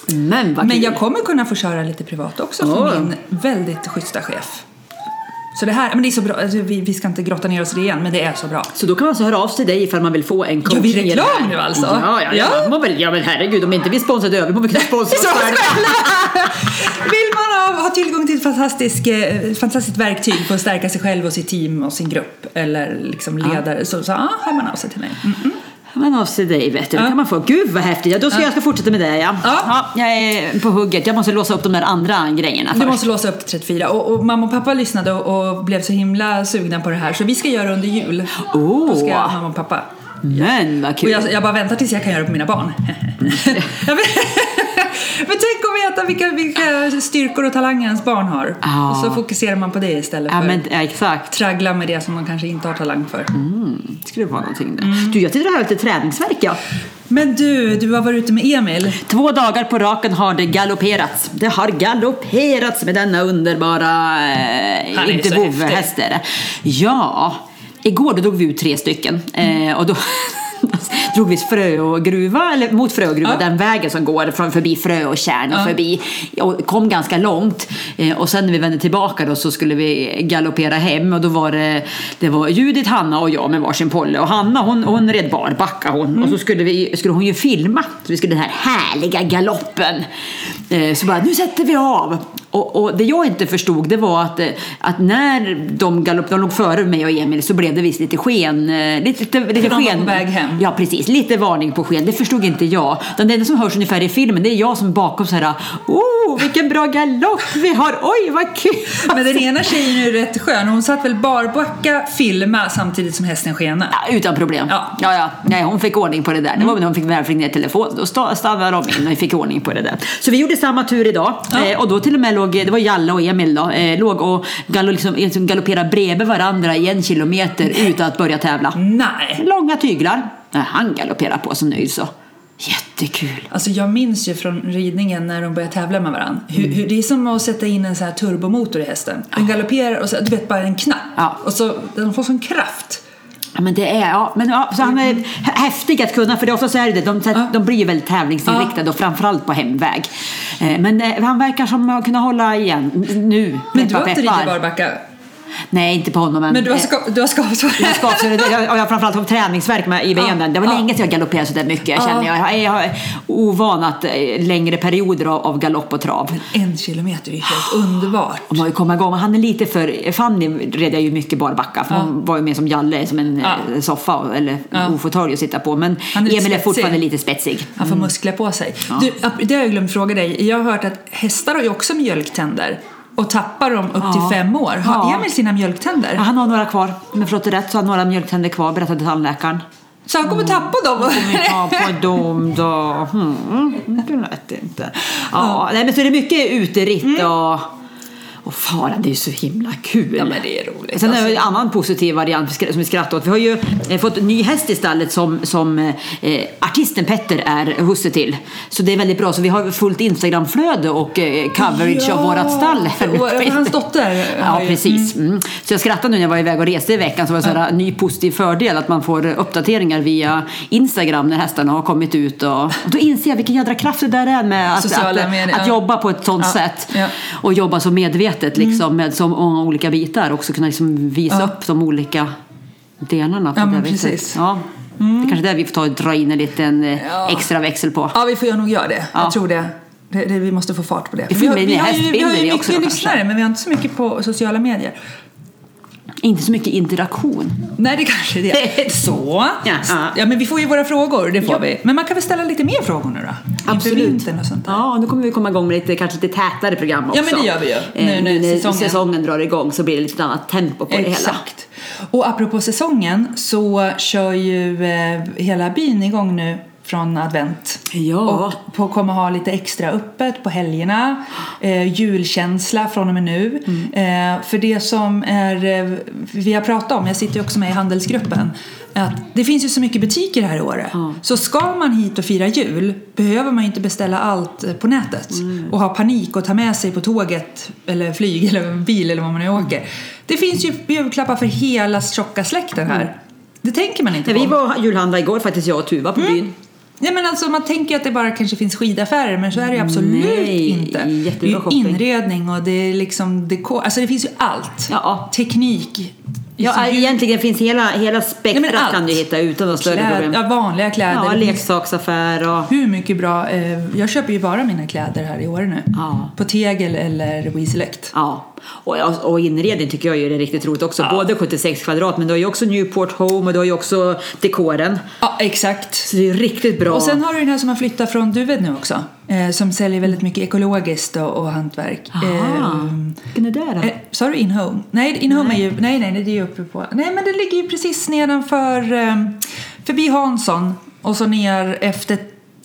S3: Men vad
S2: Men
S3: kul.
S2: jag kommer kunna få köra lite privat också för
S3: Åh.
S2: min väldigt schyssta chef. Så det här, men det är så bra, alltså vi, vi ska inte grotta ner oss i det igen, men det är så bra.
S3: Så då kan man alltså höra av sig till dig ifall man vill få en coach.
S2: Gör vi reklam nu alltså?
S3: Ja, ja, ja.
S2: Ja.
S3: Man må väl, ja men herregud, om inte vi sponsrar över må vi
S2: (laughs)
S3: kunna sponsra oss
S2: Så
S3: själva.
S2: Vill man ha, ha tillgång till ett fantastisk, eh, fantastiskt verktyg för att stärka sig själv och sitt team och sin grupp eller liksom ledare så, så ah, hör man av sig till mig. Mm.
S3: Man av sig dig vet du, då kan man få. Gud vad häftigt, ja, då ska jag ska fortsätta med det ja.
S2: Ja.
S3: Jag är på hugget, jag måste låsa upp de där andra grejerna
S2: Du
S3: först.
S2: måste låsa upp till 34 och, och mamma och pappa lyssnade och, och blev så himla sugna på det här så vi ska göra under jul.
S3: Åh.
S2: Då ska jag, mamma och pappa.
S3: Men vad
S2: Och
S3: kul.
S2: jag, jag bara väntar tills jag kan göra det på mina
S3: (laughs)
S2: barn. Jag vet- Men tänk att veta vilka, vilka styrkor och talanger ens barn har.
S3: Ja.
S2: Och så fokuserar man på det istället
S3: Ja
S2: för
S3: men Mm.
S2: att
S3: ja, exakt,
S2: traggla med det som man kanske inte har talang för.
S3: det skulle vara någonting där.
S2: Mm.
S3: Du jag tyckte det här var lite träningsverk ja.
S2: Men du, du har varit ute med Emil.
S3: Två dagar på raken har det galopperats. Det har galopperats med denna underbara eh,
S2: är
S3: inte
S2: så
S3: vovve,
S2: häftig.
S3: häst är det. Ja, igår då drog vi ut tre stycken eh, och då (laughs) drog vi frö och gruva, eller mot frö och gruva,
S2: Ja.
S3: den vägen som går från, förbi frö och kärn och
S2: Ja.
S3: förbi och kom ganska långt eh, och sen när vi vände tillbaka då så skulle vi galoppera hem och då var det, det var Judith, Hanna och jag med varsin polle och Hanna hon, hon red barbacka hon och så
S2: Mm.
S3: skulle, vi, skulle hon ju filma så vi skulle den här härliga galoppen eh, så bara nu sätter vi av och, och det jag inte förstod det var att, eh, att när de galopperade, de låg före mig och Emil så blev det visst lite sken, eh, lite, lite, lite
S2: de var
S3: sken.
S2: på väg hem.
S3: Ja, precis. Lite varning på sken. Det förstod inte jag. Utan det enda som hörs ungefär i filmen, det är jag som bakom så här. Oh, vilken bra galopp vi har! Oj, vad kul!
S2: Men den ena tjejen är ju rätt skön. Hon satt väl barbacka, filma samtidigt som hästen skena.
S3: Ja, utan problem.
S2: Ja.
S3: Ja, ja. Nej, hon fick ordning på det där. Det var väl när hon fick väl fick ner telefonen. Då sta- stannade de in och fick ordning på det där. Så vi gjorde samma tur idag.
S2: Ja.
S3: Eh, och då till och med låg, det var Jalla och Emil då, eh, låg och gallo, liksom, liksom galopperade bredvid varandra i en kilometer utan att börja tävla.
S2: Mm. Nej.
S3: Långa tyglar. Nej, han galopperar på så nöjd så. Jättekul.
S2: Alltså jag minns ju från ridningen när de började tävla med varandra. Hur,
S3: Mm.
S2: hur, det är som att sätta in en så här turbomotor i hästen. Den galopperar och så, du vet bara en knapp.
S3: Ja.
S2: Och så den får sån kraft.
S3: Ja, men det är, ja, men, ja, så han är hä- häftig att kunna, för det är ofta så är det, de,
S2: Ja.
S3: de blir ju väldigt tävlingsinriktade och framförallt på hemväg. Eh, Men eh, han verkar som att kunna hålla igen n- nu.
S2: Men
S3: Peppa,
S2: du har inte
S3: peppar.
S2: ridit barbacka?
S3: Nej, inte på honom än.
S2: Men du har,
S3: Eh,
S2: ska, du har skavsår.
S3: jag skavs, och jag, och jag har framförallt haft träningsvärk med, i benen. Det var
S2: Ja.
S3: länge sedan jag galopperade så där mycket. Jag känner jag, jag, jag har ovanat eh, längre perioder av, av galopp och trav.
S2: En kilometer är ju helt underbart.
S3: Om man ju komma igång. Han är lite för... Fanny red jag ju mycket barbacka för hon var ju mer som Jalle, som en
S2: Ja.
S3: eh, soffa och- eller en ofåtölj att sitta på. Men
S2: Han är
S3: Emil
S2: lite
S3: är
S2: spetsig.
S3: fortfarande lite spetsig.
S2: Han får muskler på sig. Du, det har jag glömt fråga dig. Jag har hört att hästar har ju också mjölktänder och tappar dem upp till fem år. Har
S3: Ja.
S2: Emil sina mjölktänder?
S3: Ja, Han har några kvar, men för att det är rätt så har han några mjölktänder kvar berättade tandläkaren.
S2: Så han kommer tappa dem?
S3: Ja, på dem då. Hmm, det lät inte. Ja, Nej, men så är det mycket uteritt och, och faran, det är ju så himla kul.
S2: Mm. Ja, men det är roligt,
S3: Sen har vi en
S2: alltså.
S3: annan positiv variant som vi skrattar åt. Vi har ju eh, fått en ny häst i stallet som, som eh, artisten Petter är husse till. Så det är väldigt bra. Så vi har fullt Instagramflöde och eh, coverage av
S2: Ja.
S3: vårat stall.
S2: Och eh, hans dotter har
S3: Ja,
S2: ju-
S3: precis. Mm. Så jag skrattade nu när jag var iväg och reste i veckan så var det en mm. ny positiv fördel att man får uppdateringar via Instagram när hästarna har kommit ut. Och, och då inser jag vilken jädra kraft det där är med att, att,
S2: Sociala medier,
S3: att
S2: ja.
S3: jobba på ett sånt
S2: Ja,
S3: sätt
S2: ja. Mm.
S3: och jobba så medvetet liksom, med så många olika bitar och också kunna liksom visa
S2: Ja.
S3: upp de olika delarna på
S2: Ja,
S3: det
S2: men
S3: där viset.
S2: precis. Mm.
S3: Ja. Det är kanske är där vi får ta och dra in en liten eh,
S2: Ja.
S3: extra växel på.
S2: Ja, vi får nog göra det.
S3: Ja.
S2: Jag tror det. Det, det. Vi måste få fart på det.
S3: Vi får
S2: har,
S3: med
S2: vi,
S3: nya
S2: har ju, vi har
S3: hästbilder i
S2: ju
S3: också
S2: mycket
S3: då, kanske.
S2: lyssnare, men vi har inte så mycket på sociala medier.
S3: Inte så mycket interaktion.
S2: Nej, det kanske är
S3: (laughs)
S2: det. Så.
S3: Ja.
S2: Ja, men vi får ju våra frågor, det får vi. Men man kan väl ställa lite mer frågor nu då? Inför vintern och sånt där.
S3: Ja, nu kommer vi komma igång med lite, kanske lite tätare program också.
S2: Ja, men det gör vi ju.
S3: Eh, Nu, när säsongen. drar igång så blir det lite annat tempo på det hela.
S2: Exakt. Och apropå säsongen så kör ju eh, hela byn igång nu från advent.
S3: Ja.
S2: Och på, kommer ha lite extra öppet på helgerna. Eh, julkänsla från och med nu.
S3: Mm.
S2: Eh, för det som är, eh, vi har pratat om, jag sitter ju också med i handelsgruppen, att det finns ju så mycket butiker här i Åre. Så ska man hit och fira jul behöver man ju inte beställa allt eh, på nätet
S3: Mm.
S2: och ha panik och ta med sig på tåget eller flyg (laughs) eller bil eller vad man nu
S3: Mm.
S2: åker. Det finns ju julklappar för hela tjocka släkten här. Det tänker man inte
S3: Mm. Nej,
S2: på.
S3: Vi var julhandla igår faktiskt, jag och Tuva
S2: Mm.
S3: på byn.
S2: Nej men alltså man tänker ju att det bara kanske finns skidaffärer men så är det ju absolut
S3: Nej,
S2: inte. Det är
S3: jättebra
S2: ju
S3: shopping.
S2: inredning och det är liksom dekor, alltså det finns ju allt.
S3: Ja.
S2: Teknik.
S3: Ja,
S2: Liksom
S3: egentligen finns hela, hela
S2: Nej,
S3: spektrat
S2: men allt.
S3: kan du hitta utan några större
S2: kläd-
S3: problem.
S2: ja, vanliga kläder.
S3: Ja,
S2: Det finns
S3: leksaksaffär och...
S2: hur mycket bra, eh, jag köper ju bara mina kläder här i år nu.
S3: Ja.
S2: På Tegel eller WeSelect.
S3: Ja, och, och inredning tycker jag ju är riktigt roligt också. Både 76 kvadrat, men du har ju också Newport Home och du har ju också dekoren.
S2: Ja, exakt.
S3: Så det är ju riktigt bra.
S2: Och sen har du den här som har flyttat från Duved nu också. Eh, som säljer väldigt mycket ekologiskt och, och hantverk.
S3: Aha,
S2: Eh,
S3: vilken är det då?
S2: Eh, Sa du in-home? Nej, in-home är ju... Nej, nej, nej, det är ju uppe på... Nej, men det ligger ju precis nedanför... Eh, förbi Hansson och så ner efter...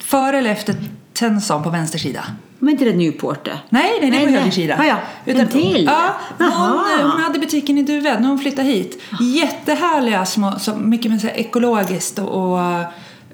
S2: Före eller efter Tenson på vänster sida.
S3: Men inte det Newport det?
S2: Nej, nej, det är på
S3: Nej,
S2: höger
S3: nej.
S2: sida.
S3: Ja, ja. En till?
S2: Ja, hon,
S3: Jaha. Ah.
S2: hon hade butiken i Duved när hon flyttade hit. Jättehärliga små... Så mycket med så här ekologiskt och, och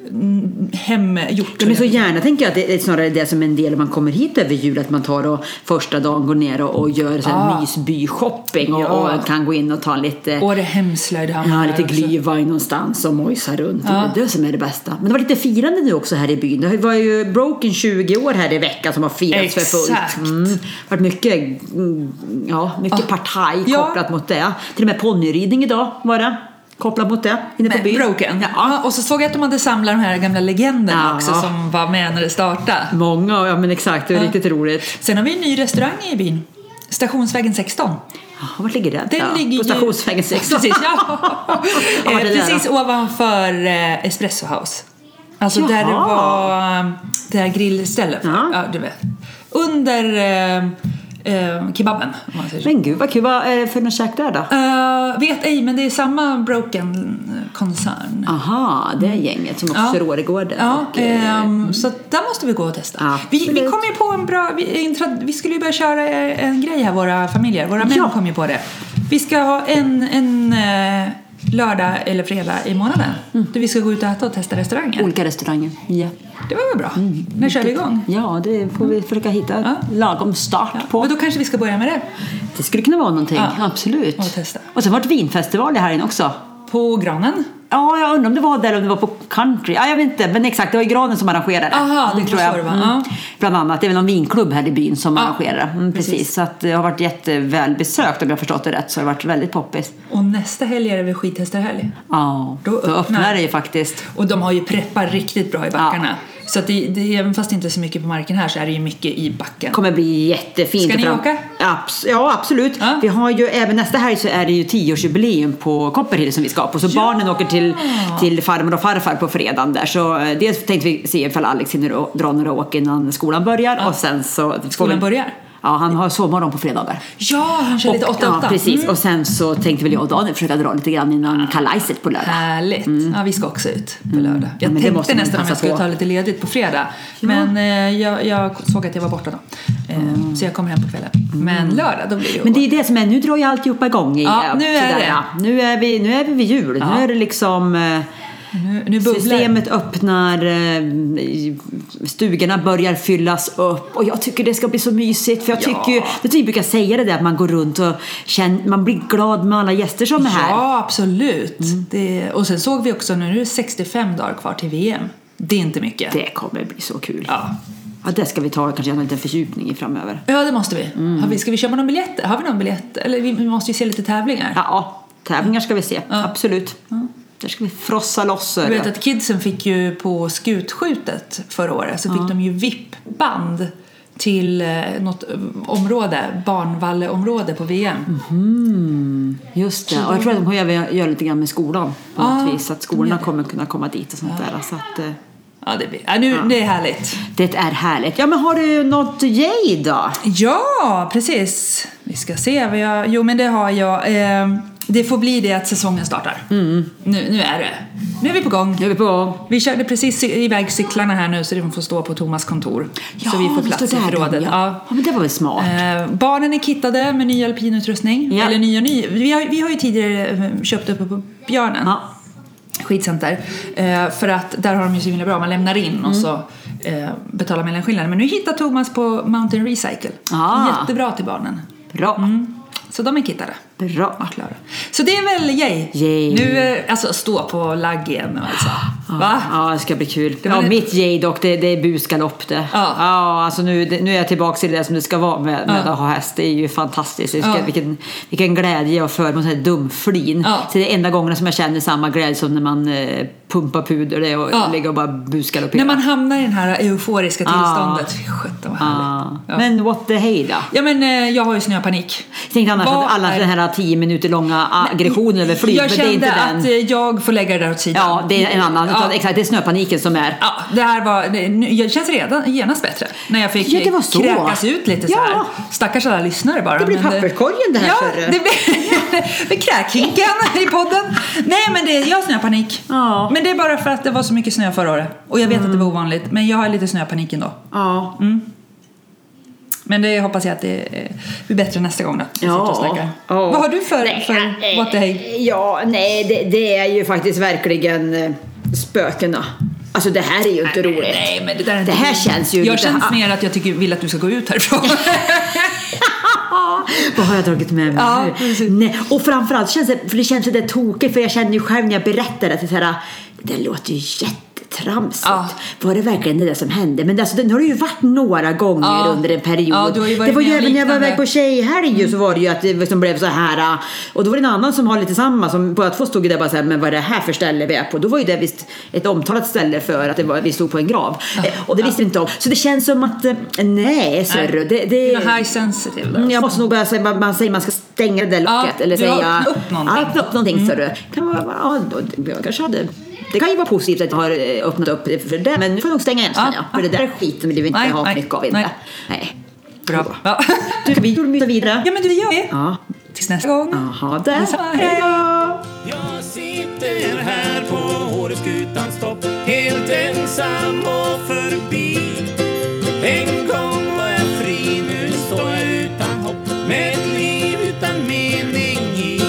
S2: mm, hemgjort.
S3: Ja, men så gärna tänker jag att det är snarare det som en del om man kommer hit över jul att man tar och första dagen går ner och, och gör så här
S2: Ah.
S3: mysby-shopping och,
S2: Ja.
S3: och kan gå in och ta lite
S2: och det hemslöjdhamnar.
S3: Ja, lite
S2: också.
S3: glühwein någonstans och mojsa runt. Det är det som är det bästa. Men det var lite firande nu också här i byn. Det var ju Broken 20 år här i veckan som har firats för
S2: Exakt.
S3: fullt. Mm. Det har varit mycket, mm, ja, mycket
S2: Ja.
S3: partaj
S2: Ja.
S3: kopplat mot det. Till och med ponnyridning idag var det. Kopplat mot det inne på
S2: Med
S3: byn.
S2: Broken?
S3: Ja.
S2: Och så såg jag att de hade samlat de här gamla legenderna
S3: Ja.
S2: också som var med när det startade.
S3: Många, ja men exakt. Det var riktigt roligt.
S2: Sen har vi en ny restaurang i byn. Stationsvägen 16.
S3: Ja, Var ligger den?
S2: Den
S3: då?
S2: ligger ju-
S3: På Stationsvägen 16.
S2: Precis, (laughs)
S3: (laughs)
S2: ja.
S3: Ja,
S2: Eh,
S3: det där
S2: Precis
S3: då.
S2: ovanför eh, Espresso House. Alltså där det
S3: Jaha.
S2: var eh, det här grillstället.
S3: Ja.
S2: Ja, du vet. Under eh, eh, kebaben. Om man säger så.
S3: Men gud vad kul. Vad är det för något käk där då?
S2: Eh, vet ej, men det är samma Broken-koncern.
S3: Aha, det är gänget som också kör Åregården.
S2: Ja,
S3: och, eh,
S2: ehm, så att där måste vi gå och testa. Vi, vi
S3: Absolut.
S2: kom ju på en bra... Vi, en trad- vi skulle ju börja köra eh, en grej här, våra familjer. Våra män
S3: Ja.
S2: kom ju på det. Vi ska ha en, en eh, lördag eller fredag i månaden.
S3: Mm.
S2: Då vi ska gå ut och äta och testa restauranger.
S3: Olika restauranger. Ja.
S2: Det var väl bra?
S3: Mm.
S2: När kör vi igång?
S3: ja, det får vi försöka hitta lagom start på.
S2: Mm. Men då kanske vi ska börja med det.
S3: Det skulle kunna vara någonting,
S2: Ja.
S3: absolut.
S2: Och testa.
S3: Och sen vart vinfestival i helgen också.
S2: På granen.
S3: Ja, jag undrar om det var där eller om det var på country. Ja, jag vet inte, men exakt, det var ju granen som arrangerade.
S2: Aha, det var så det var. Ja.
S3: Mm. Bland annat, det är väl någon vinklubb här i byn som
S2: Ja,
S3: arrangerar. Mm, precis.
S2: precis.
S3: så att det har varit jätteväl besökt om jag har förstått det rätt. Så det har varit väldigt poppis.
S2: Och nästa helg är det väl skidhästarhelg?
S3: Ja,
S2: Då
S3: då öppnar,
S2: öppnar-
S3: det ju faktiskt.
S2: Och de har ju preppar riktigt bra i backarna. Så att det, det, även fast det inte är så mycket på marken här så är det ju mycket i backen.
S3: kommer bli jättefint.
S2: Ska ni
S3: Fram-
S2: åka?
S3: Abs- ja, absolut.
S2: Ja.
S3: Vi har ju, även nästa helg så är det ju tioårsjubileum på Copperhill som vi ska på. Så barnen åker till, till farmor och farfar på fredagen där. Så eh, dels tänkte vi se ifall Alex hinner å- dra några åk innan skolan börjar. Och sen så
S2: Skolan börjar?
S3: Ja, han har sovmorgon på fredagar.
S2: Ja, han kör lite
S3: Och-
S2: 8-8.
S3: Ja, precis.
S2: Mm.
S3: Och sen så tänkte väl jag och Daniel försöka dra lite grann innan kalajset på lördag.
S2: Härligt. Ja, vi ska också ut på lördag. Jag
S3: Mm. men det måste
S2: tänkte
S3: man
S2: nästan om
S3: passa
S2: jag skulle
S3: på.
S2: ta lite ledigt på fredag. Men eh, jag, jag såg att jag var borta då. Eh, Så jag kommer hem på kvällen. Men lördag, då blir det
S3: Mm. Men det är det som är, nu drar ju alltihopa igång igen.
S2: Ja, nu är
S3: Sådär,
S2: det. Mm.
S3: ja. Nu är vi, nu är vi vid jul. Nu är det liksom... eh,
S2: Nu, nu bubblar
S3: Systemet öppnar, eh, stugorna börjar fyllas upp och jag tycker det ska bli så mysigt för jag
S2: Ja.
S3: tycker ju, det tycker jag brukar säga det där att man går runt och känner, man blir glad med alla gäster som är här. Mm.
S2: Ja, absolut. Det, och sen såg vi också, nu är det 65 dagar kvar till VM. Det är inte mycket.
S3: Det kommer bli så kul. Ja.
S2: Ja.
S3: det ska vi ta kanske en liten fördjupning i framöver.
S2: ja, det måste vi.
S3: Mm.
S2: Har vi. Ska vi köpa någon biljett? Har vi någon biljett? Eller vi, vi måste ju se lite tävlingar.
S3: Ja, tävlingar ska vi se, absolut. Där ska vi frossa loss.
S2: Jag vet
S3: hörru.
S2: att kidsen fick ju på skutskjutet förra året så fick de ju VIP-band till eh, något eh, område, barnvalleområde på VM.
S3: Just det, och jag tror att de kommer göra, göra lite grann med skolan på något
S2: Ja,
S3: vis. Att
S2: de
S3: skolorna
S2: gör det.
S3: kommer kunna komma dit och sånt där. Så att, eh,
S2: Ja, det, blir, ja, nu, det är härligt.
S3: det är härligt. Ja, men har du något yay då?
S2: Ja, precis. Vi ska se vad jag... Jo, men det har jag. Eh, det får bli det att säsongen startar. Nu, nu är det. Mm. Nu är vi på gång.
S3: Nu är vi på gång.
S2: Vi körde precis i- iväg cyklarna här nu så de får stå på Thomas kontor. så vi får
S3: det
S2: plats
S3: står
S2: i
S3: där
S2: förrådet.
S3: de, Ja.
S2: Ja.
S3: Ja. men det var väl smart.
S2: Eh, barnen är kittade med ny alpinutrustning.
S3: Ja.
S2: Eller ny och ny. Vi har, vi har ju tidigare eh, köpt uppe på Björnen.
S3: Ja.
S2: Skidcenter. Eh, för att där har de ju så himla bra. Man lämnar in
S3: Mm.
S2: och så eh, betalar man skillnaden. Men nu hittar Thomas på Mountain Recycle.
S3: Ah.
S2: Jättebra till barnen.
S3: Bra.
S2: Mm. Så de är kittade.
S3: Bra.
S2: Ja, klara. Så det är väl yay.
S3: Yay. Ah,
S2: Nu, eh, alltså stå på lagg igen nu alltså. Va?
S3: Ja, det ska bli kul.
S2: var
S3: Ja,
S2: det-
S3: mitt yay dock, det, det är busgalopp det.
S2: Ja.
S3: ja alltså nu, det, nu är jag tillbaka till det som det ska vara med, med att ha häst. Det är ju fantastiskt. Det ska,
S2: Ja.
S3: vilken, vilken glädje jag för med sån här dumflin.
S2: Ja.
S3: Så det är enda gången som jag känner samma glädje som när man eh, pumpar puder det och
S2: Ja.
S3: ligger och bara busgalopperar.
S2: När man hamnar i det här euforiska
S3: Ja.
S2: tillståndet. Fy sjutton vad
S3: ja.
S2: härligt. Ja.
S3: Men what the hey då?
S2: Ja men eh, jag har ju snöpanik.
S3: Jag tänkte annars
S2: Vad
S3: att alla
S2: är-
S3: den här tio minuter långa aggressionen över flyg, men
S2: Jag
S3: det
S2: kände
S3: är inte den.
S2: att eh, jag får lägga det där åt sidan.
S3: Ja, det är en annan.
S2: Ja.
S3: Utan, exakt, det är snöpaniken som är.
S2: Ja, det här var, det, nu- jag känns redan genast bättre. När jag fick
S3: Ja, det var så.
S2: kräkas ut lite så
S3: Ja.
S2: här. Stackars alla lyssnare bara.
S3: Det blir
S2: men eh,
S3: papperskorgen det här,
S2: Ja,
S3: ser du.
S2: det blir, (laughs) blir kräkhinkan i podden. Nej men det, jag har snöpanik.
S3: Ja. Mm.
S2: Men det är bara för att det var så mycket snö förra året. Och jag vet att det var ovanligt, men jag har lite snöpanik ändå.
S3: Ja.
S2: Mm. Men det hoppas jag att det eh, blir bättre nästa gång då. Vi sitter och snackar.
S3: Ja.
S2: Vad har du för,
S3: Nej,
S2: för
S3: eh,
S2: what the hey?
S3: Ja, nej, det, det är ju faktiskt verkligen eh, spökena. Alltså det här är ju inte roligt.
S2: Nej, men det, där är inte
S3: Det här
S2: roligt.
S3: känns ju
S2: Jag
S3: lite-
S2: känns mer att jag tycker, vill att du ska gå ut härifrån.
S3: (laughs) Ah, (laughs) Vad har jag dragit med mig
S2: Ja,
S3: nu?
S2: precis.
S3: Nej. Och framförallt känns det, för det känns det där tokigt för jag känner ju själv när jag berättar det att det är så här, det låter ju jättetramsigt.
S2: Ja.
S3: Var det verkligen det där som hände? Men alltså, det, nu har det ju varit några gånger
S2: Ja.
S3: under en period.
S2: Ja, du har ju varit
S3: det var
S2: med
S3: ju
S2: om
S3: även när jag var
S2: liknande.
S3: iväg på tjejhelg ju så var det ju att det som blev så här. äh, Och då var det en annan som har lite samma som båda två stod ju där bara så här, men vad är det här för ställe vi är på? Då var ju det visst ett omtalat ställe för att det var, vi stod på en grav. Eh, Och det visste vi inte om. Så det känns som att, eh, nej sörru. Det,
S2: Du
S3: det,
S2: är high sensitive.
S3: Mm, Jag måste nog börja säga, man, man säger man ska stänga det där locket.
S2: Ja,
S3: eller
S2: du har
S3: säga,
S2: öppnat upp någonting. Mm.
S3: Ja, öppnat upp någonting sa du. Kan vara, ja, då- jag kanske hade, det kan ju vara positivt att jag har eh, öppnat upp det för det. Men nu får jag nog stänga igen
S2: Ja,
S3: känner jag. För
S2: ja.
S3: det där skiten vill vi inte
S2: Nej,
S3: ha för
S2: nej,
S3: mycket av. Inte.
S2: nej.
S3: Nej. nej.
S2: Bra. Ja. (laughs)
S3: Du, ska vi gå vidare?
S2: ja, men du, gör det.
S3: Ja.
S2: Tills nästa gång.
S3: Jaha, där.
S2: Detsamma.
S3: Hej då!
S1: Jag sitter här på Åreskutans topp Helt ensam och förbi En gång var jag fri, nu står jag utan hopp Med ett liv utan mening i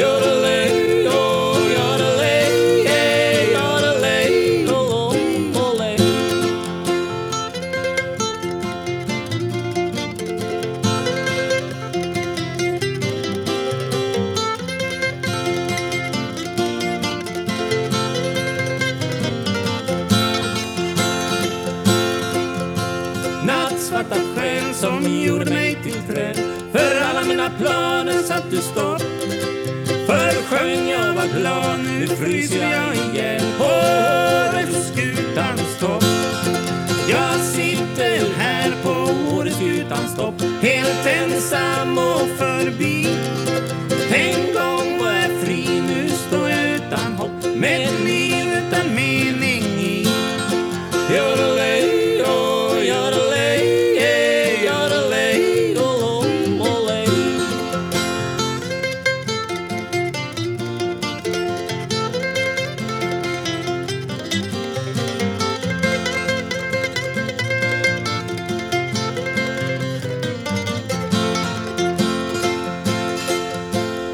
S1: Yodelej, oh, yodelej, eh, yodelej, oh, oh, olej. som gjorde mig till träd. För alla mina planer satt du stopp. För sjöng jag var glad, nu fryser jag igen på Åreskutans topp. Jag sitter här på Åreskutans topp, helt ensam och förbi. En gång var jag fri, nu står jag utan hopp, med ett liv utan mening i. Yodelay, oh, yodelay, eh, yodelay, oh, oh, olay.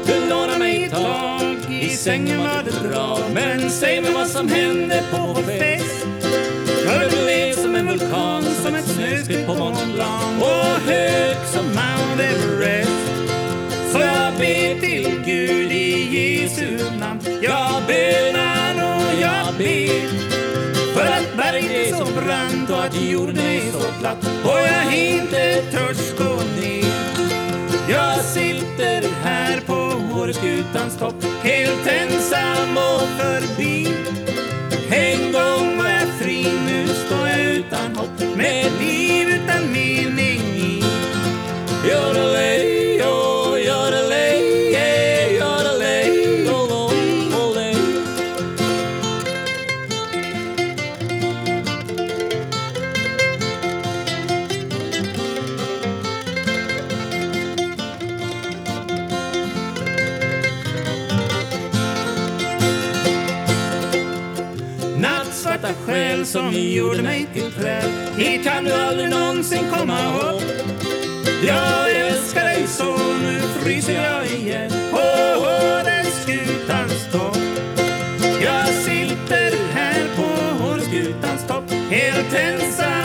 S1: Du lånar mig ett tag, i sängen var det bra Men säg mig vad som hände på vår fest För du blev som en vulkan, som ett snöskred på Mont Blanc Och hög som Mount Everest Så jag ber till Gud i Jesu namn Jag bönar och jag ber för att berget är så brant och att jorden är så platt och jag inte törs gå ner jag sitter här på Åreskutans topp Helt ensam och förbi En gång var jag fri, nu står jag utan hopp Med ett liv utan mening i Yodelay, oh, yodelay, yeah, yodelay, oh, oh, olay. Nattsvarta själ som gjorde mig till träd Hit kan du aldrig någonsin komma upp Jag älskar dig så, nu fryser jag igen På Hårdeskutans topp Jag sitter här på Hårdeskutans topp Helt ensam oh, oh,